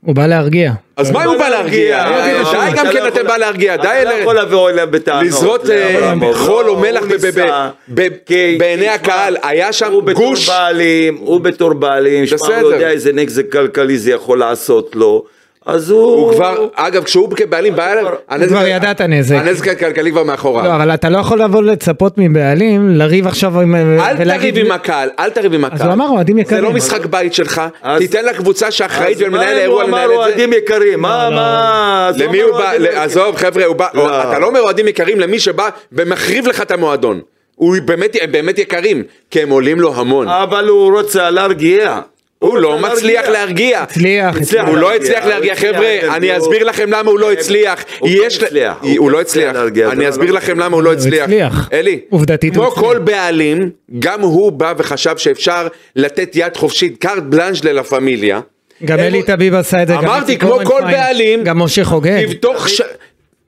[SPEAKER 1] הוא בא להרגיע
[SPEAKER 4] אז מה אם הוא בא להרגיע?
[SPEAKER 2] אה,
[SPEAKER 4] אה,
[SPEAKER 2] לא,
[SPEAKER 4] די
[SPEAKER 2] אתה
[SPEAKER 4] גם
[SPEAKER 2] לא
[SPEAKER 4] כן
[SPEAKER 2] יכול-
[SPEAKER 4] אתם בא להרגיע, די
[SPEAKER 2] אתה לא
[SPEAKER 4] אלה-
[SPEAKER 2] יכול לבוא אליו בטענות.
[SPEAKER 4] לזרות אה,
[SPEAKER 2] לאברמוב.
[SPEAKER 4] חול
[SPEAKER 2] לא,
[SPEAKER 4] או מלח
[SPEAKER 2] הוא
[SPEAKER 4] ב- ב-
[SPEAKER 2] ניסה,
[SPEAKER 4] ב- ב-
[SPEAKER 2] כי-
[SPEAKER 4] בעיני
[SPEAKER 2] תשמע,
[SPEAKER 4] הקהל, היה שם
[SPEAKER 2] הוא בתור
[SPEAKER 4] גוש.
[SPEAKER 2] בעלים, הוא בתור בעלים, שמע, הוא
[SPEAKER 4] בסדר.
[SPEAKER 2] יודע איזה נזק כלכלי זה יכול לעשות לו, אז הוא...
[SPEAKER 4] הוא כבר, אגב, כשהוא כבעלים בא אליו, הנזק-
[SPEAKER 1] כבר ידע את הנזק.
[SPEAKER 4] הנזק הכלכלי כבר
[SPEAKER 1] לא,
[SPEAKER 4] מאחוריו.
[SPEAKER 1] אבל אתה לא יכול לבוא לצפות מבעלים לריב עכשיו עם... אה,
[SPEAKER 4] אל
[SPEAKER 1] ולהגיד-
[SPEAKER 4] תריב עם הקהל, אל תריב עם הקהל.
[SPEAKER 1] הוא אמר, "אוהדים יקרים",
[SPEAKER 4] זה לא
[SPEAKER 1] אבל-
[SPEAKER 4] משחק בית שלך,
[SPEAKER 2] אז-
[SPEAKER 4] תיתן לקבוצה שאחראית
[SPEAKER 2] אז מה
[SPEAKER 4] ולמנהל
[SPEAKER 2] אם
[SPEAKER 4] האירוע
[SPEAKER 2] הוא אמר
[SPEAKER 4] לנהל את זה.
[SPEAKER 2] אוהדים יקרים, מה,
[SPEAKER 1] לא.
[SPEAKER 2] מה... אז
[SPEAKER 4] למי
[SPEAKER 2] אמר
[SPEAKER 4] הוא בא,
[SPEAKER 2] אוהדים
[SPEAKER 4] ל-
[SPEAKER 2] יקרים.
[SPEAKER 4] עזוב חבר'ה, הוא בא,
[SPEAKER 2] לא.
[SPEAKER 4] אתה לא אומר אוהדים יקרים למי שבא ומחריב לך את המועדון. הוא באמת, הם באמת יקרים, כי הם עולים לו המון.
[SPEAKER 2] אבל הוא רוצה להרגיע.
[SPEAKER 4] הוא לא
[SPEAKER 2] רוצה
[SPEAKER 4] מצליח להרגיע.
[SPEAKER 1] הצליח,
[SPEAKER 2] הצליח.
[SPEAKER 1] הצליח.
[SPEAKER 4] הוא לא
[SPEAKER 2] להרגיע,
[SPEAKER 4] הצליח
[SPEAKER 2] הוא
[SPEAKER 4] להרגיע,
[SPEAKER 2] הצליח, כן,
[SPEAKER 4] חבר'ה, אני
[SPEAKER 2] הוא-
[SPEAKER 4] אסביר לכם למה הוא לא הצליח.
[SPEAKER 2] הוא
[SPEAKER 4] יש
[SPEAKER 2] כן
[SPEAKER 4] ל-
[SPEAKER 2] הצליח, הוא
[SPEAKER 4] הוא
[SPEAKER 2] כן
[SPEAKER 4] לא
[SPEAKER 2] הצליח
[SPEAKER 4] הצליח.
[SPEAKER 2] להרגיע, זה
[SPEAKER 4] אני
[SPEAKER 2] לא-
[SPEAKER 4] אסביר לכם למה הוא לא
[SPEAKER 1] הוא
[SPEAKER 4] הצליח.
[SPEAKER 1] הצליח.
[SPEAKER 4] אלי,
[SPEAKER 1] עובדתית הוא
[SPEAKER 4] כמו
[SPEAKER 1] הצליח.
[SPEAKER 4] כל בעלים, גם הוא בא וחשב שאפשר לתת יד חופשית, קארט בלאנג' ללה פמיליה.
[SPEAKER 1] גם
[SPEAKER 4] הם-
[SPEAKER 1] אלי טביב עשה את זה. גם
[SPEAKER 4] אמרתי,
[SPEAKER 1] איציק
[SPEAKER 4] כמו
[SPEAKER 1] אורן
[SPEAKER 4] כל
[SPEAKER 1] פיין,
[SPEAKER 4] בעלים,
[SPEAKER 1] גם משה חוגג.
[SPEAKER 4] כבתוך ש...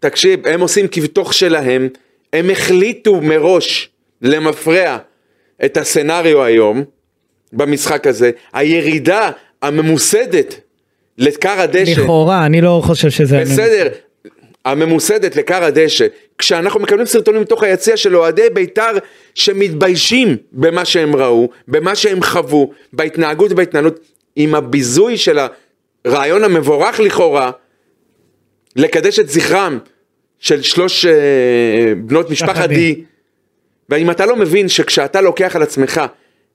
[SPEAKER 4] תקשיב, הם עושים כבתוך שלהם, הם החליטו מראש למפרע את הסצנריו היום, במשחק הזה, הירידה הממוסדת לכר הדשא,
[SPEAKER 1] לכאורה, אני לא חושב שזה... היה ממנו.
[SPEAKER 4] בסדר, הממוסדת לכר הדשא, כשאנחנו מקבלים סרטונים מתוך היציע של אוהדי בית"ר שמתביישים במה שהם ראו, במה שהם חוו, בהתנהגות ובהתנהלות, עם הביזוי של הרעיון המבורך לכאורה, לקדש את זכרם של שלוש אה, בנות משפחת
[SPEAKER 1] משפחת
[SPEAKER 4] די. ואם אתה לא מבין שכשאתה לוקח על עצמך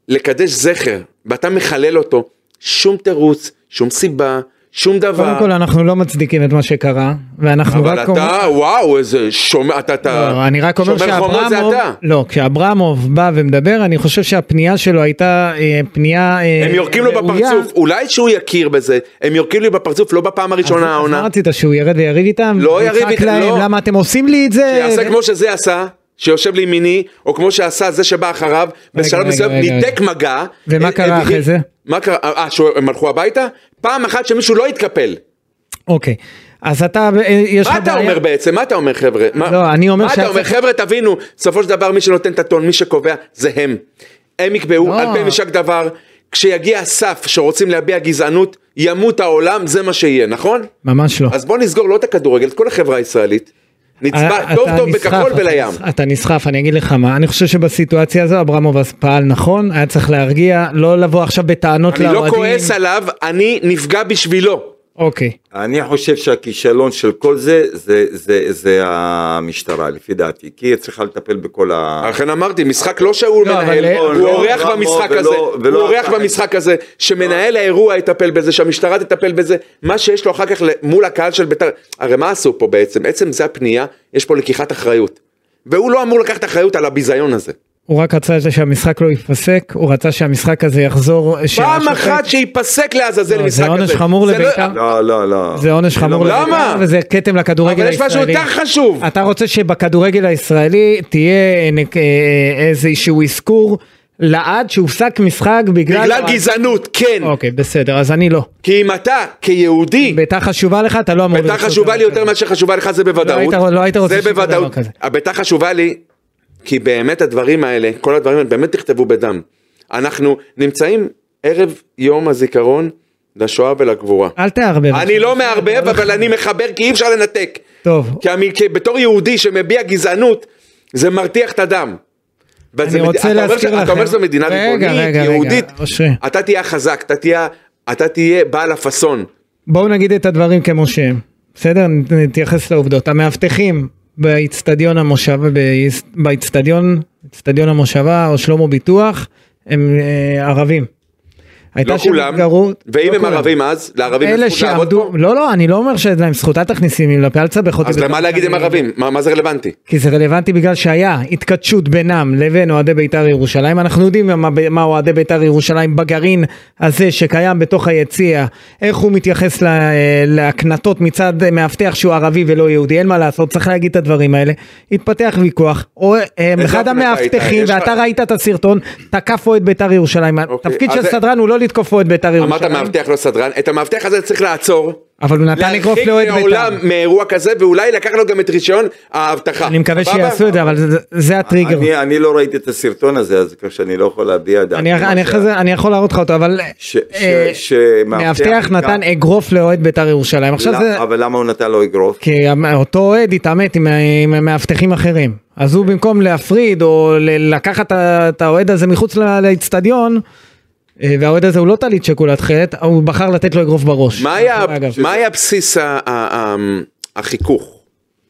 [SPEAKER 4] לקדש זכר ואתה מחלל אותו, שום תירוץ, שום סיבה, שום דבר.
[SPEAKER 1] קודם כל, אנחנו לא מצדיקים את מה שקרה, ואנחנו
[SPEAKER 4] אבל
[SPEAKER 1] רק אומרים...
[SPEAKER 4] אתה, וואו, איזה שומר, אתה,
[SPEAKER 1] לא,
[SPEAKER 4] אתה,
[SPEAKER 1] אני רק אומר
[SPEAKER 4] שומר חומות זה
[SPEAKER 1] שאברמוב,
[SPEAKER 4] אתה.
[SPEAKER 1] לא, כשאברמוב בא ומדבר, אני חושב שהפנייה שלו הייתה אה, פנייה אה,
[SPEAKER 4] הם יורקים לו
[SPEAKER 1] ראויה.
[SPEAKER 4] בפרצוף, אולי שהוא יכיר בזה, הם יורקים לי בפרצוף לא בפעם
[SPEAKER 1] אז-
[SPEAKER 4] הראשונה
[SPEAKER 1] אז מה
[SPEAKER 4] העונה,
[SPEAKER 1] רצית שהוא ירד ויריב איתם?
[SPEAKER 4] לא יריב
[SPEAKER 1] ויצעק
[SPEAKER 4] איתם,
[SPEAKER 1] להם,
[SPEAKER 4] לא.
[SPEAKER 1] למה אתם עושים לי את זה?
[SPEAKER 4] שיעשה כמו שזה עשה, שיושב לימיני, או כמו שעשה זה שבא אחריו, בשלב
[SPEAKER 1] רגע,
[SPEAKER 4] מסוים
[SPEAKER 1] רגע,
[SPEAKER 4] ניתק מגע.
[SPEAKER 1] ומה
[SPEAKER 4] אה,
[SPEAKER 1] קרה
[SPEAKER 4] אה,
[SPEAKER 1] אחרי זה?
[SPEAKER 4] מה קרה? אה, שהם הלכו הביתה? פעם אחת שמישהו לא התקפל.
[SPEAKER 1] אוקיי. אז אתה, אה, יש לך
[SPEAKER 4] מה אתה
[SPEAKER 1] בעיה-
[SPEAKER 4] אומר בעצם? מה אתה אומר חבר'ה? מה-
[SPEAKER 1] לא, אני אומר
[SPEAKER 4] מה
[SPEAKER 1] שהיה
[SPEAKER 4] אתה אומר?
[SPEAKER 1] צריך-
[SPEAKER 4] חבר'ה תבינו, בסופו של דבר מי שנותן את הטון, מי שקובע, זה הם. הם יקבעו
[SPEAKER 1] לא.
[SPEAKER 4] על פי משק דבר, כשיגיע הסף שרוצים להביע גזענות, ימות העולם, זה מה שיהיה, נכון?
[SPEAKER 1] ממש לא.
[SPEAKER 4] אז בוא נסגור לא את הכדורגל, את כל החברה הישראלית. נצבע
[SPEAKER 1] אה,
[SPEAKER 4] טוב
[SPEAKER 1] אתה
[SPEAKER 4] טוב
[SPEAKER 1] נסחף,
[SPEAKER 4] בכחול
[SPEAKER 1] אתה
[SPEAKER 4] ולים.
[SPEAKER 1] נס- אתה נסחף, אני אגיד לך מה, אני חושב שבסיטואציה הזו אברמוב פעל נכון, היה צריך להרגיע, לא לבוא עכשיו בטענות
[SPEAKER 4] אני
[SPEAKER 1] לאוהדים.
[SPEAKER 4] לא כועס עליו, אני נפגע בשבילו.
[SPEAKER 1] אוקיי.
[SPEAKER 2] אני חושב שהכישלון של כל זה, זה, זה, זה המשטרה, לפי דעתי, כי היא צריכה לטפל בכל ה...
[SPEAKER 4] לכן אמרתי, משחק לא שהוא
[SPEAKER 1] לא,
[SPEAKER 4] מנהל,
[SPEAKER 1] אבל-
[SPEAKER 4] הוא
[SPEAKER 2] לא,
[SPEAKER 4] אורח
[SPEAKER 2] לא,
[SPEAKER 4] במשחק
[SPEAKER 2] ולא-
[SPEAKER 4] הזה,
[SPEAKER 2] ולא-
[SPEAKER 4] הוא אורח במשחק הזה, שמנהל האירוע יטפל בזה, שהמשטרה תטפל בזה, מה שיש לו אחר כך ל- מול הקהל של בית"ר, הרי מה עשו פה בעצם? עצם זה הפנייה, יש פה לקיחת אחריות. והוא לא אמור לקחת אחריות על הביזיון הזה.
[SPEAKER 1] הוא רק רצה שהמשחק לא ייפסק, הוא רצה שהמשחק הזה יחזור.
[SPEAKER 4] פעם
[SPEAKER 1] שהשופט-
[SPEAKER 4] אחת שייפסק לעזאזל
[SPEAKER 1] לא,
[SPEAKER 4] משחק
[SPEAKER 1] זה עונש
[SPEAKER 4] כזה.
[SPEAKER 1] חמור
[SPEAKER 4] זה לא-
[SPEAKER 1] לבית"ר.
[SPEAKER 2] לא, לא, לא.
[SPEAKER 1] זה עונש
[SPEAKER 2] אני לא
[SPEAKER 1] חמור
[SPEAKER 2] מבין.
[SPEAKER 4] למה?
[SPEAKER 1] לבית"ר, וזה כתם לכדורגל
[SPEAKER 4] אבל יש
[SPEAKER 1] הישראלי.
[SPEAKER 4] משהו יותר חשוב.
[SPEAKER 1] אתה רוצה שבכדורגל הישראלי תהיה נק- אה, איזשהו אזכור לעד שהופסק משחק בגלל...
[SPEAKER 4] בגלל גזענות, כן.
[SPEAKER 1] אוקיי, בסדר, אז אני לא.
[SPEAKER 4] כי אם אתה, כיהודי,
[SPEAKER 1] ביתר חשובה לך, אתה לא אמור...
[SPEAKER 4] ביתר
[SPEAKER 1] לרצות
[SPEAKER 4] חשובה
[SPEAKER 1] דבר
[SPEAKER 4] לי יותר
[SPEAKER 1] כזה.
[SPEAKER 4] מאשר שחשובה לך זה בוודאות.
[SPEAKER 1] לא היית- לא היית רוצה
[SPEAKER 4] זה
[SPEAKER 1] שיקרה דבר
[SPEAKER 4] בוודאות.
[SPEAKER 1] כזה.
[SPEAKER 4] הביתר חשובה לי, כי באמת הדברים האלה, כל הדברים האלה באמת נכתבו בדם. אנחנו נמצאים ערב יום הזיכרון לשואה ולגבורה.
[SPEAKER 1] אל תערבב.
[SPEAKER 4] אני לא מערבב, אבל אני מחבר כי אי אפשר לנתק.
[SPEAKER 1] טוב.
[SPEAKER 4] כי המ- כי בתור יהודי שמביע גזענות, זה מרתיח את הדם. וזה
[SPEAKER 1] אני
[SPEAKER 4] מד-
[SPEAKER 1] רוצה
[SPEAKER 4] אתה אומר
[SPEAKER 1] להזכיר
[SPEAKER 4] ש-
[SPEAKER 1] לכם-
[SPEAKER 4] אתה אומר שזו מדינה
[SPEAKER 1] רגע,
[SPEAKER 4] ריבונית,
[SPEAKER 1] רגע, רגע,
[SPEAKER 4] יהודית,
[SPEAKER 1] אושרי.
[SPEAKER 4] אתה תהיה החזק, אתה תהיה- אתה תהיה בעל הפאסון.
[SPEAKER 1] בואו נגיד את הדברים כמו שהם, בסדר? נ- נתייחס לעובדות. המאבטחים באיצטדיון המושבה, באיס- באיצטדיון, איצטדיון המושבה או שלמה ביטוח, הם אה, ערבים.
[SPEAKER 4] לא
[SPEAKER 1] הייתה שם
[SPEAKER 4] כולם,
[SPEAKER 1] התגרות-
[SPEAKER 4] ואם
[SPEAKER 1] לא
[SPEAKER 4] הם
[SPEAKER 1] כולם.
[SPEAKER 4] ערבים אז, לערבים
[SPEAKER 1] אלה
[SPEAKER 4] יש זכות לעבוד
[SPEAKER 1] שעמדו,
[SPEAKER 4] פה?
[SPEAKER 1] לא לא אני לא אומר שאין להם זכות, אל תכניסי לי לפה, אל תסבך אותי.
[SPEAKER 4] אז למה
[SPEAKER 1] בתור
[SPEAKER 4] להגיד הם
[SPEAKER 1] שאני-
[SPEAKER 4] ערבים? מה מה זה רלוונטי?
[SPEAKER 1] כי זה רלוונטי בגלל שהיה התכתשות בינם לבין אוהדי בית"ר ירושלים. אנחנו יודעים מה, מה אוהדי בית"ר ירושלים בגרעין הזה שקיים בתוך היציע, איך הוא מתייחס לה, להקנטות מצד מאבטח שהוא ערבי ולא יהודי, אין מה לעשות, צריך להגיד את הדברים האלה. התפתח ויכוח, או, אה,
[SPEAKER 4] איזה
[SPEAKER 1] אחד
[SPEAKER 4] הפנתה
[SPEAKER 1] המאבטחים,
[SPEAKER 4] הייתה? יש
[SPEAKER 1] ואתה
[SPEAKER 4] לך-
[SPEAKER 1] ראית את הסרטון, תקף אוהד בית"ר ירושלים.
[SPEAKER 4] אוקיי,
[SPEAKER 1] התפקיד
[SPEAKER 4] אז
[SPEAKER 1] של
[SPEAKER 4] זה-
[SPEAKER 1] סדרן הוא לא לתקוף אוהד בית"ר
[SPEAKER 4] אמרת
[SPEAKER 1] ירושלים.
[SPEAKER 4] מאבטח לא סדרן, את המאבטח הזה צריך לעצור.
[SPEAKER 1] אבל הוא נתן אגרוף לאוהד בית"ר.
[SPEAKER 4] לעולם מאירוע כזה ואולי לקח לו גם את רישיון האבטחה.
[SPEAKER 1] אני מקווה
[SPEAKER 4] סבבה?
[SPEAKER 1] שיעשו את זה, אבל זה- זה הטריגר.
[SPEAKER 2] אני, אני לא ראיתי את הסרטון הזה, אז כך שאני לא יכול להביע את דעתי. לא,
[SPEAKER 1] אני,
[SPEAKER 2] מה
[SPEAKER 1] אני,
[SPEAKER 2] שה-
[SPEAKER 1] אחרי זה, אני יכול להראות לך אותו, אבל
[SPEAKER 2] ש- ש-
[SPEAKER 1] אה,
[SPEAKER 2] שמאבטח
[SPEAKER 1] מאבטח
[SPEAKER 2] נתן-
[SPEAKER 1] נתן אגרוף לאוהד בית"ר ירושלים. עכשיו
[SPEAKER 2] לא,
[SPEAKER 1] זה...
[SPEAKER 2] אבל למה הוא נתן לו אגרוף?
[SPEAKER 1] כי המ- אותו אוהד התעמת עם, עם מאבטחים אחרים. אז הוא במקום להפריד או ל- לקחת ה- את האוהד הזה מחוץ ל- לאצטדיון, אה, והאוהד הזה הוא לא טלית שכולת חטא, הוא בחר לתת לו אגרוף בראש. נכון,
[SPEAKER 4] מה היה-
[SPEAKER 1] אגב,
[SPEAKER 4] מה היה בסיס ה- ה- ה- החיכוך?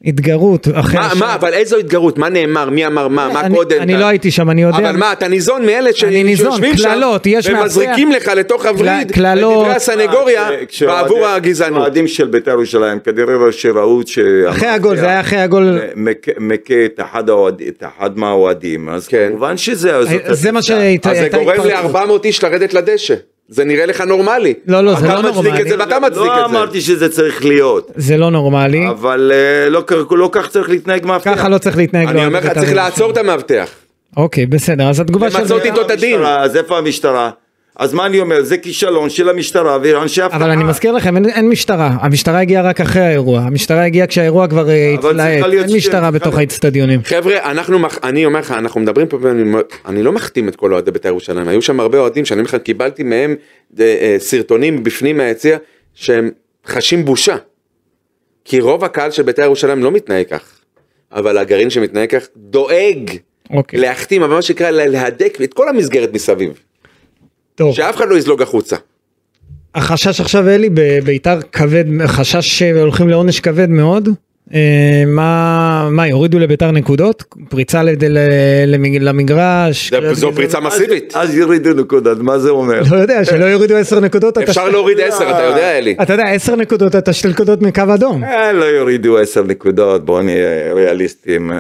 [SPEAKER 1] התגרות אחרי...
[SPEAKER 4] מה,
[SPEAKER 1] השם.
[SPEAKER 4] מה, אבל איזו התגרות? מה נאמר? מי אמר מה? מה
[SPEAKER 1] כן, אני-
[SPEAKER 4] קודם?
[SPEAKER 1] אני
[SPEAKER 4] אתה-
[SPEAKER 1] לא הייתי שם, אני יודע.
[SPEAKER 4] אבל מה, אתה ניזון מאלה ש-
[SPEAKER 1] אני ניזון,
[SPEAKER 4] שיושבים שם,
[SPEAKER 1] קללות, יש מאבטח.
[SPEAKER 4] ומזריקים לך לתוך הווריד, את
[SPEAKER 1] קללות.
[SPEAKER 4] דברי הסנגוריה,
[SPEAKER 2] כש-
[SPEAKER 4] בעבור
[SPEAKER 2] כשאוהדי-
[SPEAKER 4] הגזענות.
[SPEAKER 2] אוהדים של בית"ר ירושלים, כנראה שראו ש...
[SPEAKER 1] אחרי הגול, זה היה אחרי הגול.
[SPEAKER 2] מק- מכה את אחד האוהד- את אחד מהאוהדים, אז
[SPEAKER 4] כן.
[SPEAKER 2] כמובן שזה... זאת
[SPEAKER 1] אה, זה מה
[SPEAKER 2] התפיסה.
[SPEAKER 1] שהייתה...
[SPEAKER 4] אז זה
[SPEAKER 1] הייתה
[SPEAKER 4] גורם
[SPEAKER 1] התפרצות.
[SPEAKER 4] ל-400 איש לרדת לדשא. זה נראה לך נורמלי.
[SPEAKER 1] לא, לא, זה לא
[SPEAKER 4] אתה מצדיק
[SPEAKER 1] נורמלי.
[SPEAKER 4] את זה ואתה מצדיק
[SPEAKER 2] לא
[SPEAKER 4] את זה.
[SPEAKER 2] אמרתי שזה צריך להיות,
[SPEAKER 1] זה לא נורמלי.
[SPEAKER 2] אבל אה, לא כ- לא כך צריך להתנהג מאבטח.
[SPEAKER 1] ככה לא צריך להתנהג.
[SPEAKER 4] אני אומר לך,
[SPEAKER 1] לאוהד
[SPEAKER 4] צריך
[SPEAKER 1] בית"ר
[SPEAKER 4] לעצור את המאבטח.
[SPEAKER 1] אוקיי, בסדר, אז התגובה של...
[SPEAKER 4] למצות איתו את הדין.
[SPEAKER 2] אז איפה המשטרה? אז מה אני אומר? זה כישלון של המשטרה ואנשי אבטחה.
[SPEAKER 1] אבל אני מזכיר לכם, אין, אין משטרה. המשטרה הגיעה רק אחרי האירוע. המשטרה הגיעה כשהאירוע כבר אה,
[SPEAKER 2] אבל צריכה
[SPEAKER 1] התלהט.
[SPEAKER 2] להיות
[SPEAKER 1] אין משטרה
[SPEAKER 2] צריכה
[SPEAKER 1] בתוך
[SPEAKER 2] להיות-
[SPEAKER 1] האצטדיונים.
[SPEAKER 4] חבר'ה, אנחנו, מח- אני אומר לך, אנחנו מדברים פה, ואני מ- אני לא מחתים את כל אוהדי בית"ר ירושלים, היו שם הרבה אוהדים שאני בכלל קיבלתי מהם אה, אה, סרטונים בפנים מהיציע, שהם חשים בושה. כי רוב הקהל של בית"ר ירושלים לא מתנהג כך, אבל הגרעין שמתנהג כך דואג
[SPEAKER 1] אוקיי,
[SPEAKER 4] להחתים, אבל מה שנקרא לה- להדק את כל המסגרת מסביב,
[SPEAKER 1] טוב.
[SPEAKER 4] שאף אחד לא יזלוג החוצה.
[SPEAKER 1] החשש עכשיו, אלי, בביתר כבד, חשש שהולכים לעונש כבד מאוד. אה, מה, מה, יורידו לביתר נקודות? פריצה לד- ל- למג- למגרש?
[SPEAKER 4] זה-
[SPEAKER 1] כלל
[SPEAKER 4] זו
[SPEAKER 1] גזענות?
[SPEAKER 4] פריצה
[SPEAKER 2] אז-
[SPEAKER 4] מסיבית.
[SPEAKER 2] אז יורידו נקודות, מה זה אומר?
[SPEAKER 1] לא יודע, שלא יורידו 10 נקודות. אתה
[SPEAKER 4] אפשר לא-
[SPEAKER 1] שתי-
[SPEAKER 4] להוריד 10, אתה יודע אלי.
[SPEAKER 1] אתה יודע, 10 נקודות, אתה שתי נקודות מקו אדום.
[SPEAKER 2] אה, לא יורידו עשר נקודות, בואו נהיה ריאליסטים. אה,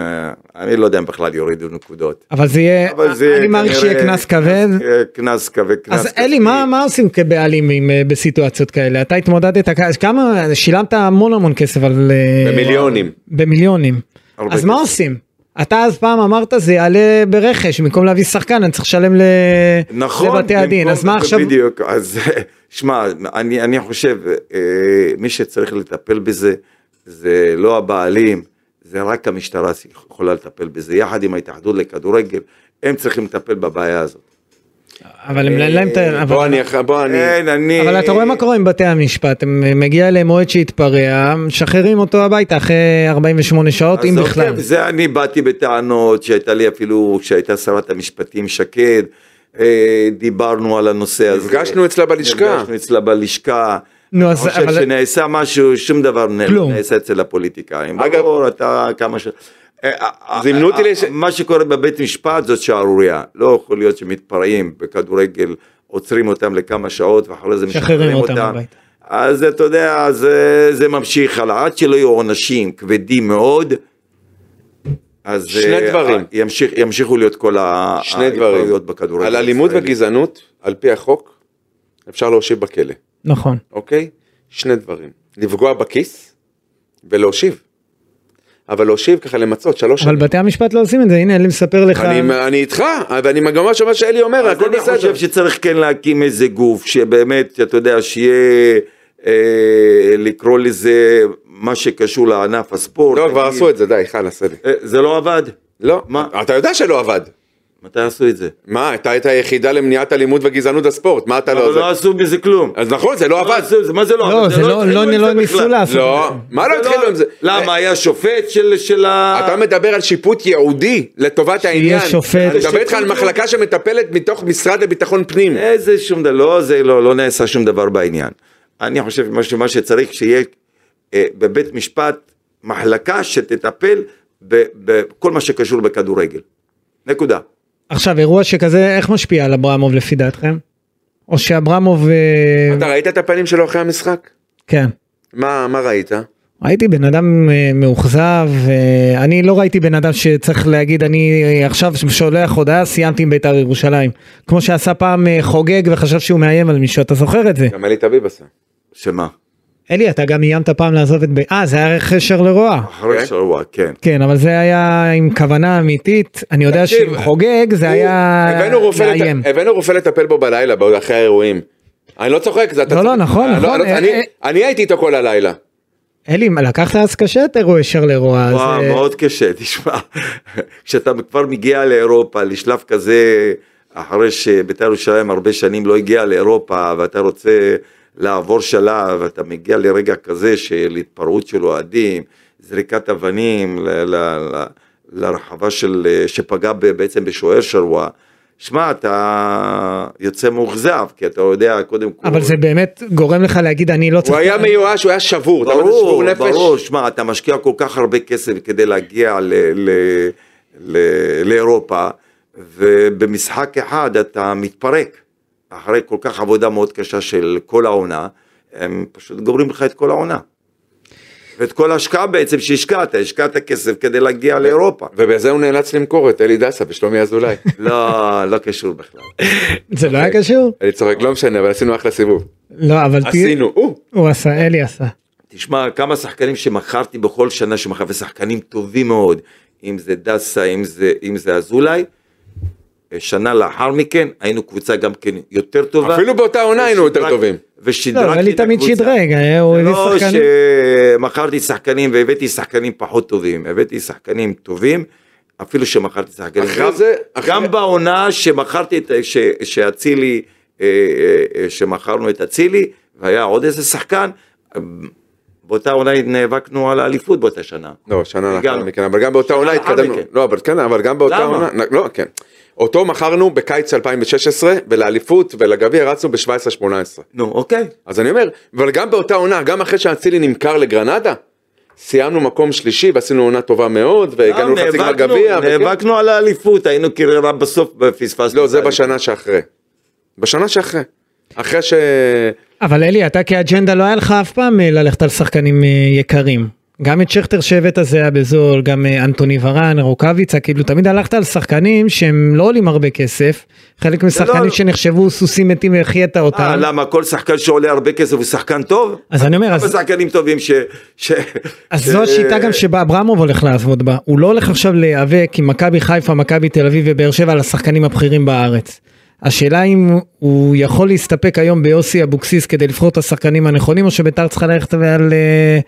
[SPEAKER 2] אני לא יודע אם בכלל יורידדו נקודות.
[SPEAKER 1] אבל זה יהיה,
[SPEAKER 2] אבל זה
[SPEAKER 1] אה, אני מעריך שיהיה
[SPEAKER 2] כנראה
[SPEAKER 1] קנס כבד.
[SPEAKER 2] אה, קנס כבד, קנס
[SPEAKER 1] אז
[SPEAKER 2] כספי.
[SPEAKER 1] אלי, מה, מה עושים כבעלים עם, אה, בסיטואציות כאלה? אתה התמודדת, כ- כמה, שילמת המון המון כסף על... אה,
[SPEAKER 4] במיליונים.
[SPEAKER 1] במיליונים.
[SPEAKER 2] הרבה
[SPEAKER 1] אז מה
[SPEAKER 2] כסף.
[SPEAKER 1] עושים? אתה אז פעם אמרת זה יעלה ברכש במקום להביא שחקן אני צריך לשלם ל...
[SPEAKER 2] נכון,
[SPEAKER 1] לבתי הדין
[SPEAKER 2] במקום-
[SPEAKER 1] אז מה עכשיו
[SPEAKER 2] בדיוק, אז <laughs> שמע, אני, אני חושב, אה, מי שצריך לטפל בזה, זה לא הבעלים, זה רק המשטרה יכולה לטפל בזה, יחד עם ההתאחדות לכדורגל, הם צריכים לטפל בבעיה הזאת.
[SPEAKER 1] אבל הם אין להם את
[SPEAKER 2] אה,
[SPEAKER 1] ה...
[SPEAKER 4] בוא
[SPEAKER 1] אה, אבל-
[SPEAKER 4] אני אח- בוא אני
[SPEAKER 2] אין, אני...
[SPEAKER 1] אבל אתה רואה מה קורה עם בתי המשפט הם מגיע אליהם מועד שהתפרע משחררים אותו הביתה אחרי 48 שעות אם
[SPEAKER 2] אז
[SPEAKER 1] בכלל.
[SPEAKER 2] אוקיי, זה אני באתי בטענות שהייתה לי אפילו, כשהייתה שרת המשפטים שקד, אה, דיברנו על הנושא הזה.
[SPEAKER 4] נפגשנו אצלה בלשכה.
[SPEAKER 2] נפגשנו אצלה בלשכה.
[SPEAKER 1] נו,
[SPEAKER 2] אני
[SPEAKER 1] אז-
[SPEAKER 2] חושב
[SPEAKER 1] אבל-
[SPEAKER 2] שנעשה משהו, שום דבר נ-
[SPEAKER 1] כלום.
[SPEAKER 2] נעשה אצל הפוליטיקאים.
[SPEAKER 4] אגב-
[SPEAKER 2] ברור, אתה כמה ש... אה, אה,
[SPEAKER 4] זימנו אותי
[SPEAKER 2] אה,
[SPEAKER 4] לש-
[SPEAKER 2] מה שקורה בבית משפט זאת שערורייה. לא יכול להיות שמתפרעים בכדורגל, עוצרים אותם לכמה שעות ואחרי זה
[SPEAKER 1] משחררים
[SPEAKER 2] משחררים
[SPEAKER 1] אותם
[SPEAKER 2] אותם.
[SPEAKER 1] הביתה.
[SPEAKER 2] אז אתה יודע, זה, זה ממשיך הלאה, עד שלא יהיו עונשים כבדים מאוד, אז
[SPEAKER 4] שני
[SPEAKER 2] אה,
[SPEAKER 4] דברים.
[SPEAKER 2] ימשיך, ימשיכו להיות כל ה-
[SPEAKER 4] שני דברים
[SPEAKER 2] ההתפרעויות בכדורגל.
[SPEAKER 4] על אלימות
[SPEAKER 2] הישראלי.
[SPEAKER 4] וגזענות על פי החוק אפשר להושיב בכלא
[SPEAKER 1] נכון.
[SPEAKER 4] אוקיי שני דברים לפגוע בכיס ולהושיב אבל להושיב ככה למצות שלוש
[SPEAKER 1] אבל
[SPEAKER 4] שנים.
[SPEAKER 1] בתי המשפט לא עושים את זה הנה אני מספר לך.
[SPEAKER 4] אני, אני איתך ואני מגמה שמה שאלי אומר
[SPEAKER 2] אז
[SPEAKER 4] הכל
[SPEAKER 2] אני
[SPEAKER 4] בסדר.
[SPEAKER 2] חושב שצריך כן להקים איזה גוף שבאמת, אתה יודע, שיהיה, אה, לקרוא לזה מה שקשור לענף הספורט.
[SPEAKER 4] לא כבר
[SPEAKER 2] נגיד.
[SPEAKER 4] עשו את זה די חלאס אלי.
[SPEAKER 2] אה, זה לא עבד?
[SPEAKER 4] לא
[SPEAKER 2] מה?
[SPEAKER 4] אתה יודע שלא עבד.
[SPEAKER 2] מתי עשו את זה?
[SPEAKER 4] מה הייתה את היחידה למניעת אלימות וגזענות הספורט מה אתה לא
[SPEAKER 2] אבל
[SPEAKER 4] זה.
[SPEAKER 2] לא עשו מזה כלום.
[SPEAKER 4] אז נכון זה לא
[SPEAKER 2] לא
[SPEAKER 4] עבד.
[SPEAKER 2] עשו- מה זה לא
[SPEAKER 1] לא
[SPEAKER 2] עבד?
[SPEAKER 1] זה לא
[SPEAKER 2] התחילו
[SPEAKER 1] לא
[SPEAKER 2] עם זה
[SPEAKER 1] לא
[SPEAKER 2] בכלל.
[SPEAKER 1] ניסו לעשות.
[SPEAKER 4] לא
[SPEAKER 1] את זה.
[SPEAKER 4] מה לא
[SPEAKER 2] זה
[SPEAKER 4] התחילו עם זה.
[SPEAKER 2] למה היה שופט של של ה...
[SPEAKER 4] אתה מדבר על שיפוט ייעודי לטובת העניין.
[SPEAKER 1] שופט.
[SPEAKER 4] אני מדבר איתך על מחלקה שמטפלת מתוך משרד לביטחון פנים.
[SPEAKER 2] איזה שום דבר, לא, זה לא, לא נעשה שום דבר בעניין. אני חושב מה, ש- מה שצריך שיהיה אה, בבית משפט מחלקה שתטפל ב- בכל מה שקשור בכדורגל. נקודה.
[SPEAKER 1] עכשיו אירוע שכזה איך משפיע על אברמוב לפי דעתכם? או שאברמוב אה,
[SPEAKER 4] אתה ראית את הפנים שלו אחרי המשחק?
[SPEAKER 1] כן.
[SPEAKER 4] מה מה ראית?
[SPEAKER 1] הייתי בן אדם אה, מאוכזב, אה, אני לא ראיתי בן אדם שצריך להגיד אני אה, עכשיו שולח הודעה סיימתי עם בית"ר ירושלים. כמו שעשה פעם אה, חוגג וחשב שהוא מאיים על מישהו, אתה זוכר את זה?
[SPEAKER 4] גם אלי תביב עשה. אוקיי.
[SPEAKER 2] שמה?
[SPEAKER 1] אלי, אתה גם איימת פעם לעזוב את ב... אה, זה היה חשר לרוע.
[SPEAKER 2] אחרי
[SPEAKER 4] כן.
[SPEAKER 2] שבוע, כן.
[SPEAKER 1] כן, אבל זה היה עם כוונה אמיתית, אני יודע
[SPEAKER 4] תקשיב,
[SPEAKER 1] שעם חוגג זה
[SPEAKER 4] הוא-
[SPEAKER 1] היה
[SPEAKER 4] הבאנו רופא לט-
[SPEAKER 1] לאיים.
[SPEAKER 4] הבאנו רופא לטפל בו בלילה בא- אחרי האירועים. אני לא צוחק זה אתה
[SPEAKER 1] לא, לא,
[SPEAKER 4] צוחק.
[SPEAKER 1] נכון,
[SPEAKER 4] אני לא-
[SPEAKER 1] נכון,
[SPEAKER 4] אני-
[SPEAKER 1] אה,
[SPEAKER 4] אני-
[SPEAKER 1] אה.
[SPEAKER 4] אני הייתי איתו כל הלילה.
[SPEAKER 1] אלי, לקחת אז קשה את אירועי שר לרוע. אז,
[SPEAKER 2] וואו,
[SPEAKER 1] אה,
[SPEAKER 2] מאוד קשה, <laughs> תשמע, כשאתה כבר מגיע לאירופה, לשלב כזה, אחרי שבית"ר ירושלים הרבה שנים לא הגיע לאירופה, ואתה רוצה לעבור שלב, ואתה מגיע לרגע כזה של התפרעות של אוהדים, זריקת אבנים ל- ל- ל- לרחבה של, אה, שפגע ב- בעצם בשוער שרואה. שמע, אתה יוצא מאוכזב, כי אתה יודע, קודם כל...
[SPEAKER 1] אבל זה באמת גורם לך להגיד אני לא
[SPEAKER 4] הוא
[SPEAKER 1] צריך...
[SPEAKER 4] היה מיואש הוא היה שבור. אתה יודע,
[SPEAKER 2] ברור,
[SPEAKER 4] שבור נפש.
[SPEAKER 2] ברור, שמע, אתה משקיע כל כך הרבה כסף כדי להגיע ל, ל, ל, לאירופה, ובמשחק אחד אתה מתפרק. אחרי כל כך עבודה מאוד קשה של כל העונה, הם פשוט גומרים לך את כל העונה. ואת כל ההשקעה בעצם שהשקעת, השקעת כסף כדי להגיע לאירופה.
[SPEAKER 4] ובזה הוא נאלץ למכור את אלי דסה ושלומי
[SPEAKER 1] <laughs>
[SPEAKER 4] אזולאי.
[SPEAKER 2] לא, לא קשור בכלל.
[SPEAKER 1] זה לא
[SPEAKER 2] אוקיי.
[SPEAKER 1] היה קשור?
[SPEAKER 4] אני צוחק לא משנה אבל עשינו אחלה סיבוב.
[SPEAKER 1] לא, אבל... תהיה-
[SPEAKER 4] עשינו. או,
[SPEAKER 1] הוא עשה, אלי עשה.
[SPEAKER 2] תשמע, כמה שחקנים שמכרתי בכל שנה שמכר, ושחקנים טובים מאוד, אם זה דסה, אם זה, אם זה אזולאי. שנה לאחר מכן היינו קבוצה גם כן יותר טובה.
[SPEAKER 4] אפילו באותה עונה היינו יותר
[SPEAKER 2] ושדרג-
[SPEAKER 4] טובים.
[SPEAKER 1] לא, אבל
[SPEAKER 2] ושדרגתי
[SPEAKER 1] אלי
[SPEAKER 2] את הקבוצה.
[SPEAKER 1] תמיד שדרג, אה, הוא הביא
[SPEAKER 2] לא
[SPEAKER 1] שחקנים.
[SPEAKER 2] שמכרתי שחקנים והבאתי שחקנים פחות טובים, הבאתי שחקנים טובים, אפילו שמכרתי שחקנים.
[SPEAKER 4] אחרי
[SPEAKER 2] גם,
[SPEAKER 4] זה- אחרי-
[SPEAKER 2] גם בעונה שמכרתי, את, ש, שאצילי, אה, אה, אה, שמכרנו את אצילי, והיה עוד איזה שחקן, אה, באותה עונה נאבקנו על האליפות באותה שנה.
[SPEAKER 4] לא, שנה
[SPEAKER 2] הגענו.
[SPEAKER 4] לאחר מכן, אבל גם באותה עונה
[SPEAKER 2] לאחר
[SPEAKER 4] התקדמנו.
[SPEAKER 2] מכן.
[SPEAKER 4] לא, אבל כן, אבל גם באותה
[SPEAKER 2] למה?
[SPEAKER 4] עונה, לא, כן. אותו מכרנו בקיץ 2016, ולאליפות ולגביע רצנו ב-17-18.
[SPEAKER 2] נו, אוקיי.
[SPEAKER 4] אז אני אומר, אבל גם באותה עונה, גם אחרי שאצילי נמכר לגרנדה, סיימנו מקום שלישי ועשינו עונה טובה מאוד, והגענו
[SPEAKER 2] גם
[SPEAKER 4] לחצי גמר
[SPEAKER 2] אה, נאבקנו-
[SPEAKER 4] גביע. וכן.
[SPEAKER 2] נאבקנו אה, על האליפות, היינו קריירה בסוף, פספסנו.
[SPEAKER 4] לא,
[SPEAKER 2] את
[SPEAKER 4] זה
[SPEAKER 2] האליפות.
[SPEAKER 4] בשנה שאחרי. בשנה שאחרי. אחרי ש...
[SPEAKER 1] אבל אלי, אתה כאג'נדה לא היה לך אף פעם אה, ללכת על שחקנים אה, יקרים. גם את שכטר שבט הזה היה בזול, גם אה, אנטוני ורן, רוקאביצה, כאילו תמיד הלכת על שחקנים שהם לא עולים הרבה כסף, חלק משחקנים
[SPEAKER 2] לא-
[SPEAKER 1] שנחשבו סוסים מתים והחיית
[SPEAKER 2] אה,
[SPEAKER 1] אותם.
[SPEAKER 2] למה כל שחקן שעולה הרבה כסף הוא שחקן טוב?
[SPEAKER 1] אז אני אומר,
[SPEAKER 2] כמה
[SPEAKER 1] אז,
[SPEAKER 2] שחקנים טובים ש... ש...
[SPEAKER 1] אז
[SPEAKER 2] ש-
[SPEAKER 1] זו השיטה גם שבה אברמוב הולך לעבוד בה, הוא לא הולך עכשיו להיאבק עם מכבי חיפה, מכבי תל אביב ובאר שבע על השחקנים הבכירים בארץ. השאלה אם הוא יכול להסתפק היום ביוסי אבוקסיס כדי לבחור את השחקנים הנכונים, או שביתר צריכה ללכת ועל... אה,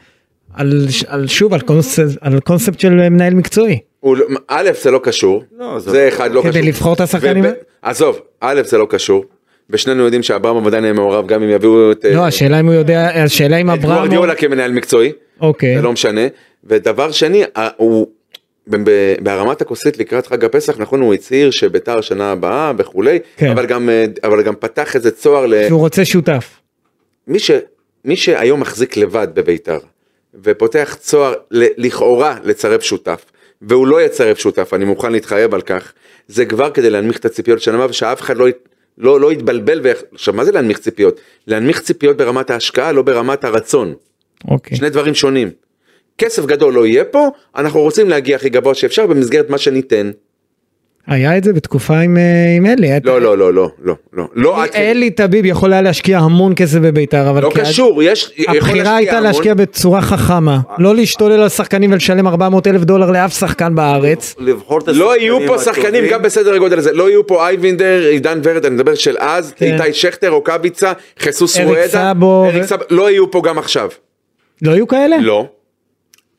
[SPEAKER 1] על, על שוב על קונספט, על קונספט של מנהל מקצועי.
[SPEAKER 4] הוא לא- א', זה לא קשור,
[SPEAKER 2] לא, זה-
[SPEAKER 4] זה אחד לא
[SPEAKER 1] כדי
[SPEAKER 4] קשור.
[SPEAKER 1] לבחור את השחקנים?
[SPEAKER 4] וב- עזוב, א', זה לא קשור, ושנינו יודעים שאברהם עדיין יהיה מעורב גם אם יביאו את
[SPEAKER 1] לא,
[SPEAKER 4] אה,
[SPEAKER 1] השאלה אם הוא יודע, השאלה אם
[SPEAKER 4] את
[SPEAKER 1] אברמוב...
[SPEAKER 4] גוורדיולה כמנהל מקצועי,
[SPEAKER 1] אוקיי.
[SPEAKER 4] אה, זה לא משנה, ודבר שני, ה- הוא ב- ב- בהרמת הכוסית לקראת חג הפסח, נכון הוא הצהיר שביתר שנה הבאה וכולי,
[SPEAKER 1] כן.
[SPEAKER 4] אבל גם, אה, אבל גם פתח איזה צוהר ל...
[SPEAKER 1] כי הוא רוצה שותף.
[SPEAKER 4] מי, ש, מי שהיום מחזיק לבד בביתר ופותח צוהר ל, לכאורה לצרף שותף והוא לא יצרף שותף אני מוכן להתחייב על כך זה כבר כדי להנמיך את הציפיות של הבא ושאף אחד לא, י- לא, לא יתבלבל ויח- עכשיו מה זה להנמיך ציפיות להנמיך ציפיות ברמת ההשקעה לא ברמת הרצון
[SPEAKER 1] אוקיי.
[SPEAKER 4] שני דברים שונים. כסף גדול לא יהיה פה אנחנו רוצים להגיע הכי גבוה שאפשר במסגרת מה שניתן
[SPEAKER 1] היה את זה בתקופה עם אה, עם אלי. היה את-
[SPEAKER 4] לא לא לא לא לא לא לא עד כדי-
[SPEAKER 1] אה, אלי טביב יכול היה להשקיע המון כסף בביתר, אבל
[SPEAKER 4] לא
[SPEAKER 1] כי-
[SPEAKER 4] קשור יש יכול
[SPEAKER 1] הבחירה הייתה
[SPEAKER 4] המון.
[SPEAKER 1] להשקיע בצורה חכמה, לא להשתולל על שחקנים ולשלם 400 אלף דולר לאף שחקן בארץ.
[SPEAKER 2] לבחור את
[SPEAKER 4] לא יהיו פה
[SPEAKER 2] הטובים.
[SPEAKER 4] שחקנים גם בסדר הגודל הזה, לא יהיו פה אייבינדר, עידן ורד, אני מדבר של אז,
[SPEAKER 1] כן.
[SPEAKER 4] איתי שכטר, רוקאביצה, חיסוס
[SPEAKER 1] אריק
[SPEAKER 4] רואדה,
[SPEAKER 1] סאבו
[SPEAKER 4] אריק
[SPEAKER 1] ו-
[SPEAKER 4] סאבו, לא יהיו פה גם עכשיו.
[SPEAKER 1] לא היו כאלה?
[SPEAKER 4] לא.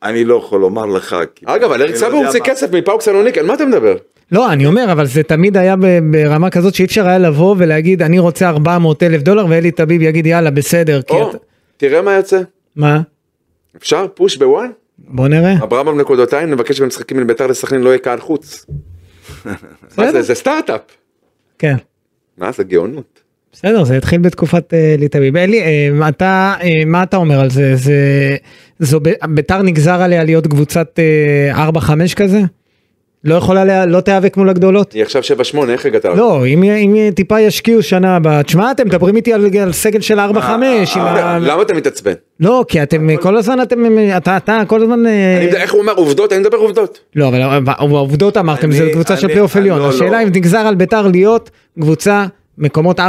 [SPEAKER 2] אני לא יכול לומר לך. כי-
[SPEAKER 4] אגב, על אריק
[SPEAKER 2] אני לא
[SPEAKER 4] סאבו
[SPEAKER 2] יודע
[SPEAKER 4] הוא הוציא
[SPEAKER 2] מה-
[SPEAKER 4] כסף מפאוק סלוניק, על מה אתה מדבר?
[SPEAKER 1] לא, אני אומר, אבל זה תמיד היה ב- ברמה כזאת שאי אפשר היה לבוא ולהגיד, אני רוצה 400 אלף דולר, ואלי טביב יגיד, יאללה, בסדר. כי
[SPEAKER 4] או,
[SPEAKER 1] אתה-
[SPEAKER 4] תראה מה יוצא.
[SPEAKER 1] מה?
[SPEAKER 4] אפשר? פוש בוואן?
[SPEAKER 1] בוא נראה.
[SPEAKER 4] אברהם נקודותיים, נבקש במשחקים בין ביתר לסכנין לא יהיה קהל חוץ. מה זה, זה סטארט-אפ.
[SPEAKER 1] כן.
[SPEAKER 4] מה זה גאונות.
[SPEAKER 1] בסדר זה התחיל בתקופת אה, ליטא ביבי. אלי אה, אתה אה, מה אתה אומר על זה זה זו ב- ביתר נגזר עליה להיות קבוצת אה, 4-5 כזה? לא יכולה לה, לא תיאבק מול הגדולות?
[SPEAKER 4] היא עכשיו 7-8, איך הגעת? לזה?
[SPEAKER 1] לא אם, אם טיפה ישקיעו שנה הבאה תשמע אתם מדברים איתי על, על סגל של 4-5
[SPEAKER 2] אה,
[SPEAKER 1] עם ה...
[SPEAKER 4] למה אתה מתעצבן?
[SPEAKER 1] לא כי אתם אה, כל הזמן אתם אה, אתה אתה כל הזמן אה,
[SPEAKER 4] אני יודע, איך הוא אומר עובדות? אני מדבר עובדות.
[SPEAKER 1] לא אבל העובדות אמרתם זה
[SPEAKER 2] אני-
[SPEAKER 1] קבוצה של
[SPEAKER 2] אני-
[SPEAKER 1] פלייאוף
[SPEAKER 2] אני-
[SPEAKER 1] עליון
[SPEAKER 2] לא, לא.
[SPEAKER 1] השאלה אם נגזר על ביתר להיות קבוצה מקומות 4-5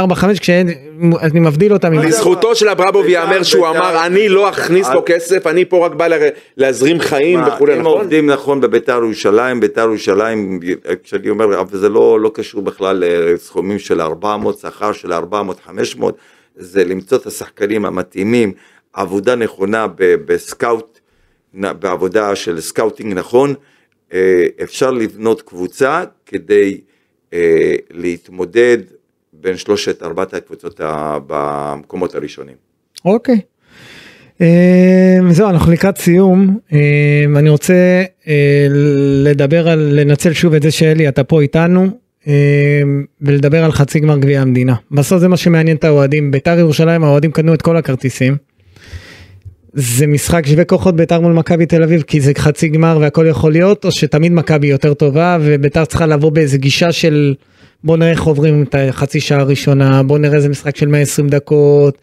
[SPEAKER 1] כשאני מבדיל אותם. עם-
[SPEAKER 4] לזכותו של אברמוב
[SPEAKER 2] בית"ר,
[SPEAKER 4] ייאמר שהוא
[SPEAKER 2] בית"ר.
[SPEAKER 4] אמר אני לא אכניס פה כסף אני פה רק בא לה- להזרים חיים
[SPEAKER 2] מה,
[SPEAKER 4] וכולי
[SPEAKER 2] אם
[SPEAKER 4] נכון?
[SPEAKER 2] עובדים נכון בביתר ירושלים, ביתר ירושלים, כשאני אומר, אבל זה לא, לא קשור בכלל לסכומים של 400, שכר של 400, 500, זה למצוא את השחקנים המתאימים, עבודה נכונה ב- בסקאוט, נ- בעבודה של סקאוטינג נכון, אה, אפשר לבנות קבוצה כדי אה, להתמודד בין שלושת ארבעת הקבוצות ה- במקומות הראשונים.
[SPEAKER 1] אוקיי. אמ, זהו אנחנו לקראת סיום אמ, אני רוצה אה, לדבר על לנצל שוב את זה שאלי אתה פה איתנו אמ, ולדבר על חצי גמר גביע המדינה בסוף זה מה שמעניין את האוהדים ביתר ירושלים האוהדים קנו את כל הכרטיסים. זה משחק שווה כוחות ביתר מול מכבי תל אביב כי זה חצי גמר והכל יכול להיות או שתמיד מכבי יותר טובה וביתר צריכה לבוא באיזה גישה של בוא נראה איך עוברים את החצי שעה הראשונה בוא נראה איזה משחק של 120 דקות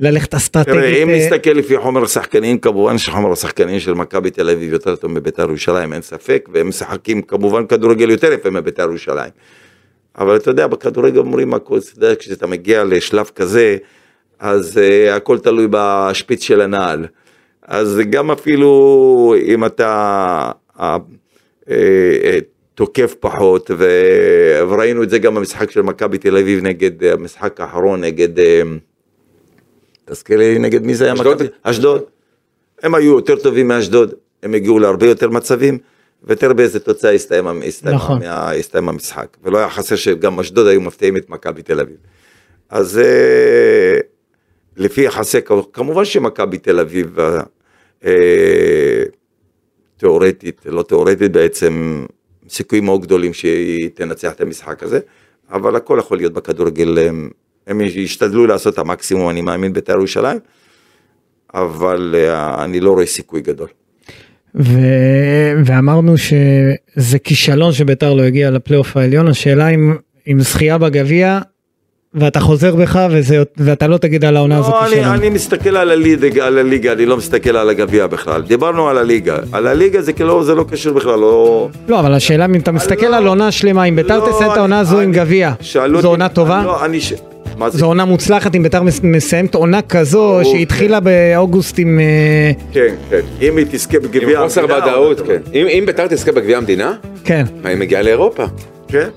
[SPEAKER 1] ללכת אסטרטגית.
[SPEAKER 2] תראה, אם
[SPEAKER 1] אה,
[SPEAKER 2] נסתכל לפי חומר השחקנים, כמובן שחומר השחקנים של מכבי תל אביב יותר טוב מביתר ירושלים, אין ספק, והם משחקים כמובן כדורגל יותר יפה מביתר ירושלים. אבל אתה יודע, בכדורגל אומרים הכל, אתה יודע, כשאתה מגיע לשלב כזה, אז uh, הכל תלוי בשפיץ של הנעל. אז גם אפילו אם אתה אה, אה, אה, תוקף פחות, ו- וראינו את זה גם במשחק של מכבי תל אביב נגד, אה, המשחק האחרון נגד... אה, תזכיר לי נגד מי זה היה?
[SPEAKER 4] אשדוד?
[SPEAKER 2] מכבי- אשדוד. הם היו יותר טובים מאשדוד, הם הגיעו להרבה יותר מצבים, ותראה באיזה תוצאה הסתיים, המ- הסתיים,
[SPEAKER 1] נכון.
[SPEAKER 2] ה- הסתיים המשחק. ולא היה חסר שגם אשדוד היו מפתיעים את מכבי תל אביב. אז אה, לפי יחסי, כוח- כמובן שמכבי תל אביב, אה, אה, תיאורטית, לא תיאורטית בעצם, סיכויים מאוד גדולים שהיא תנצח את המשחק הזה, אבל הכל יכול להיות בכדורגל, הם, הם ישתדלו לעשות את המקסימום, אני מאמין, בית"ר ירושלים, אבל אה, אני לא רואה סיכוי גדול.
[SPEAKER 1] ו- ואמרנו שזה כישלון שביתר לא הגיע לפלייאוף העליון השאלה אם עם זכייה בגביע ואתה חוזר בך וזה, ואתה לא תגיד על העונה הזאת
[SPEAKER 2] לא, אני,
[SPEAKER 1] שלנו.
[SPEAKER 2] אני מסתכל על הליגה, על הליגה, אני לא מסתכל על הגביע בכלל. דיברנו על הליגה. על הליגה זה כאילו, זה לא קשור בכלל, לא...
[SPEAKER 1] לא, אבל השאלה אם אתה מסתכל
[SPEAKER 2] לא.
[SPEAKER 1] על עונה שלמה, אם ביתר
[SPEAKER 2] לא,
[SPEAKER 1] תסיים את
[SPEAKER 2] אני-
[SPEAKER 1] העונה הזו עם
[SPEAKER 2] אני-
[SPEAKER 1] גביע,
[SPEAKER 2] שאלו אותי-
[SPEAKER 1] זו עונה טובה?
[SPEAKER 2] לא, אני... ש- מה זה?
[SPEAKER 1] זו עונה מוצלחת אם ביתר מס- מסיימת עונה כזו
[SPEAKER 2] ברור,
[SPEAKER 1] שהתחילה באוגוסט עם... אה,
[SPEAKER 2] כן, כן. אם היא תזכה בגביע...
[SPEAKER 4] עם חוסר
[SPEAKER 2] המדינה,
[SPEAKER 4] ודאות,
[SPEAKER 2] אבל-
[SPEAKER 4] כן. אם אם ביתר תזכה בגביע המדינה,
[SPEAKER 1] כן,
[SPEAKER 4] היא מגיעה לאירופה.
[SPEAKER 2] כן.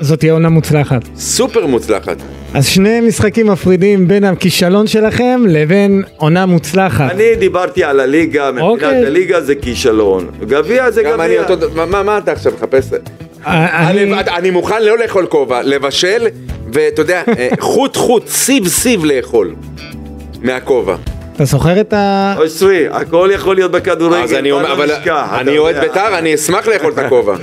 [SPEAKER 1] זאת תהיה עונה מוצלחת.
[SPEAKER 4] סופר מוצלחת.
[SPEAKER 1] אז שני משחקים מפרידים בין הכישלון שלכם לבין עונה מוצלחת.
[SPEAKER 2] אני דיברתי על הליגה,
[SPEAKER 1] אוקיי.
[SPEAKER 2] מבחינת הליגה זה כישלון. גביע זה
[SPEAKER 4] גם אני
[SPEAKER 2] גביע.
[SPEAKER 4] אותו... מה- מה מה אתה עכשיו מחפש?
[SPEAKER 1] אה, אני-
[SPEAKER 4] אני- אני מוכן לא לאכול כובע, לבשל, ואתה יודע,
[SPEAKER 2] <laughs>
[SPEAKER 4] אה, חוט חוט, סיב סיב לאכול. מהכובע.
[SPEAKER 1] אתה זוכר את ה...
[SPEAKER 2] אושרי, הכל יכול להיות בכדורגל.
[SPEAKER 4] אז אני
[SPEAKER 2] בל
[SPEAKER 4] אומר, אבל
[SPEAKER 2] נשכח, אתה
[SPEAKER 4] אני אוהד
[SPEAKER 2] יודע.
[SPEAKER 4] ביתר, אני אשמח
[SPEAKER 2] <laughs>
[SPEAKER 4] לאכול את הכובע. אתה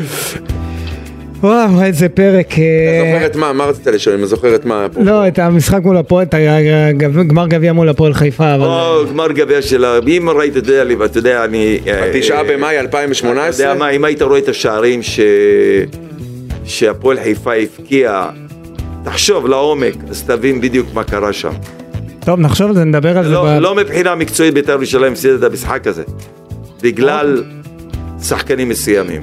[SPEAKER 1] וואו, איזה פרק. אה,
[SPEAKER 4] זוכר את מה? מה רצית לשאול? אני זוכר את מה?
[SPEAKER 1] לא, את המשחק מול הפועל, את הגב- גמר גביע מול הפועל חיפה, אבל...
[SPEAKER 2] או גמר גביע של ה... אם ראית את זה, אתה יודע, אני... אה,
[SPEAKER 4] תשעה
[SPEAKER 2] אה,
[SPEAKER 4] במאי
[SPEAKER 2] אתה יודע
[SPEAKER 4] 2018?
[SPEAKER 2] מה, אם היית רואה את השערים ש... שהפועל חיפה הבקיע, תחשוב לעומק, אז תבין בדיוק מה קרה שם.
[SPEAKER 1] טוב, נחשוב על זה, נדבר על זה.
[SPEAKER 2] לא,
[SPEAKER 1] ב-
[SPEAKER 2] לא מבחינה מקצועית בית"ר ירושלים הפסידה את המשחק הזה, בגלל שחקנים מסוימים.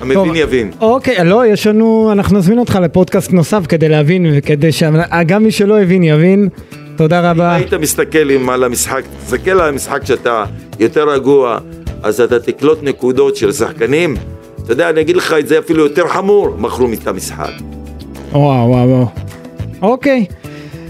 [SPEAKER 1] אוקיי. טוב,
[SPEAKER 2] המבין יבין.
[SPEAKER 1] אוקיי, לא, יש לנו, אנחנו נזמין אותך לפודקאסט נוסף כדי להבין, וכדי שגם מי שלא הבין יבין. תודה רבה.
[SPEAKER 2] היית מסתכל עם- על המשחק, תסתכל על המשחק שאתה יותר רגוע, אז אתה תקלוט נקודות של שחקנים. אתה יודע, אני אגיד לך את זה אפילו יותר חמור, מכרו את המשחק.
[SPEAKER 1] וואו, וואו, וואו. אוקיי,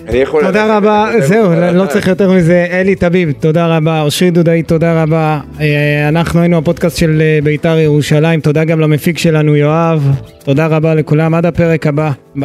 [SPEAKER 4] אני יכול...
[SPEAKER 1] תודה
[SPEAKER 4] ללכת
[SPEAKER 1] רבה,
[SPEAKER 4] יותר
[SPEAKER 1] זהו,
[SPEAKER 4] מוקדם.
[SPEAKER 1] לא צריך יותר מזה. אלי טביב, תודה רבה. אושרי דודאי, תודה רבה. אה, אנחנו היינו הפודקאסט של אה, בית"ר ירושלים, תודה גם למפיק שלנו יואב. תודה רבה לכולם, עד הפרק הבא. ביי.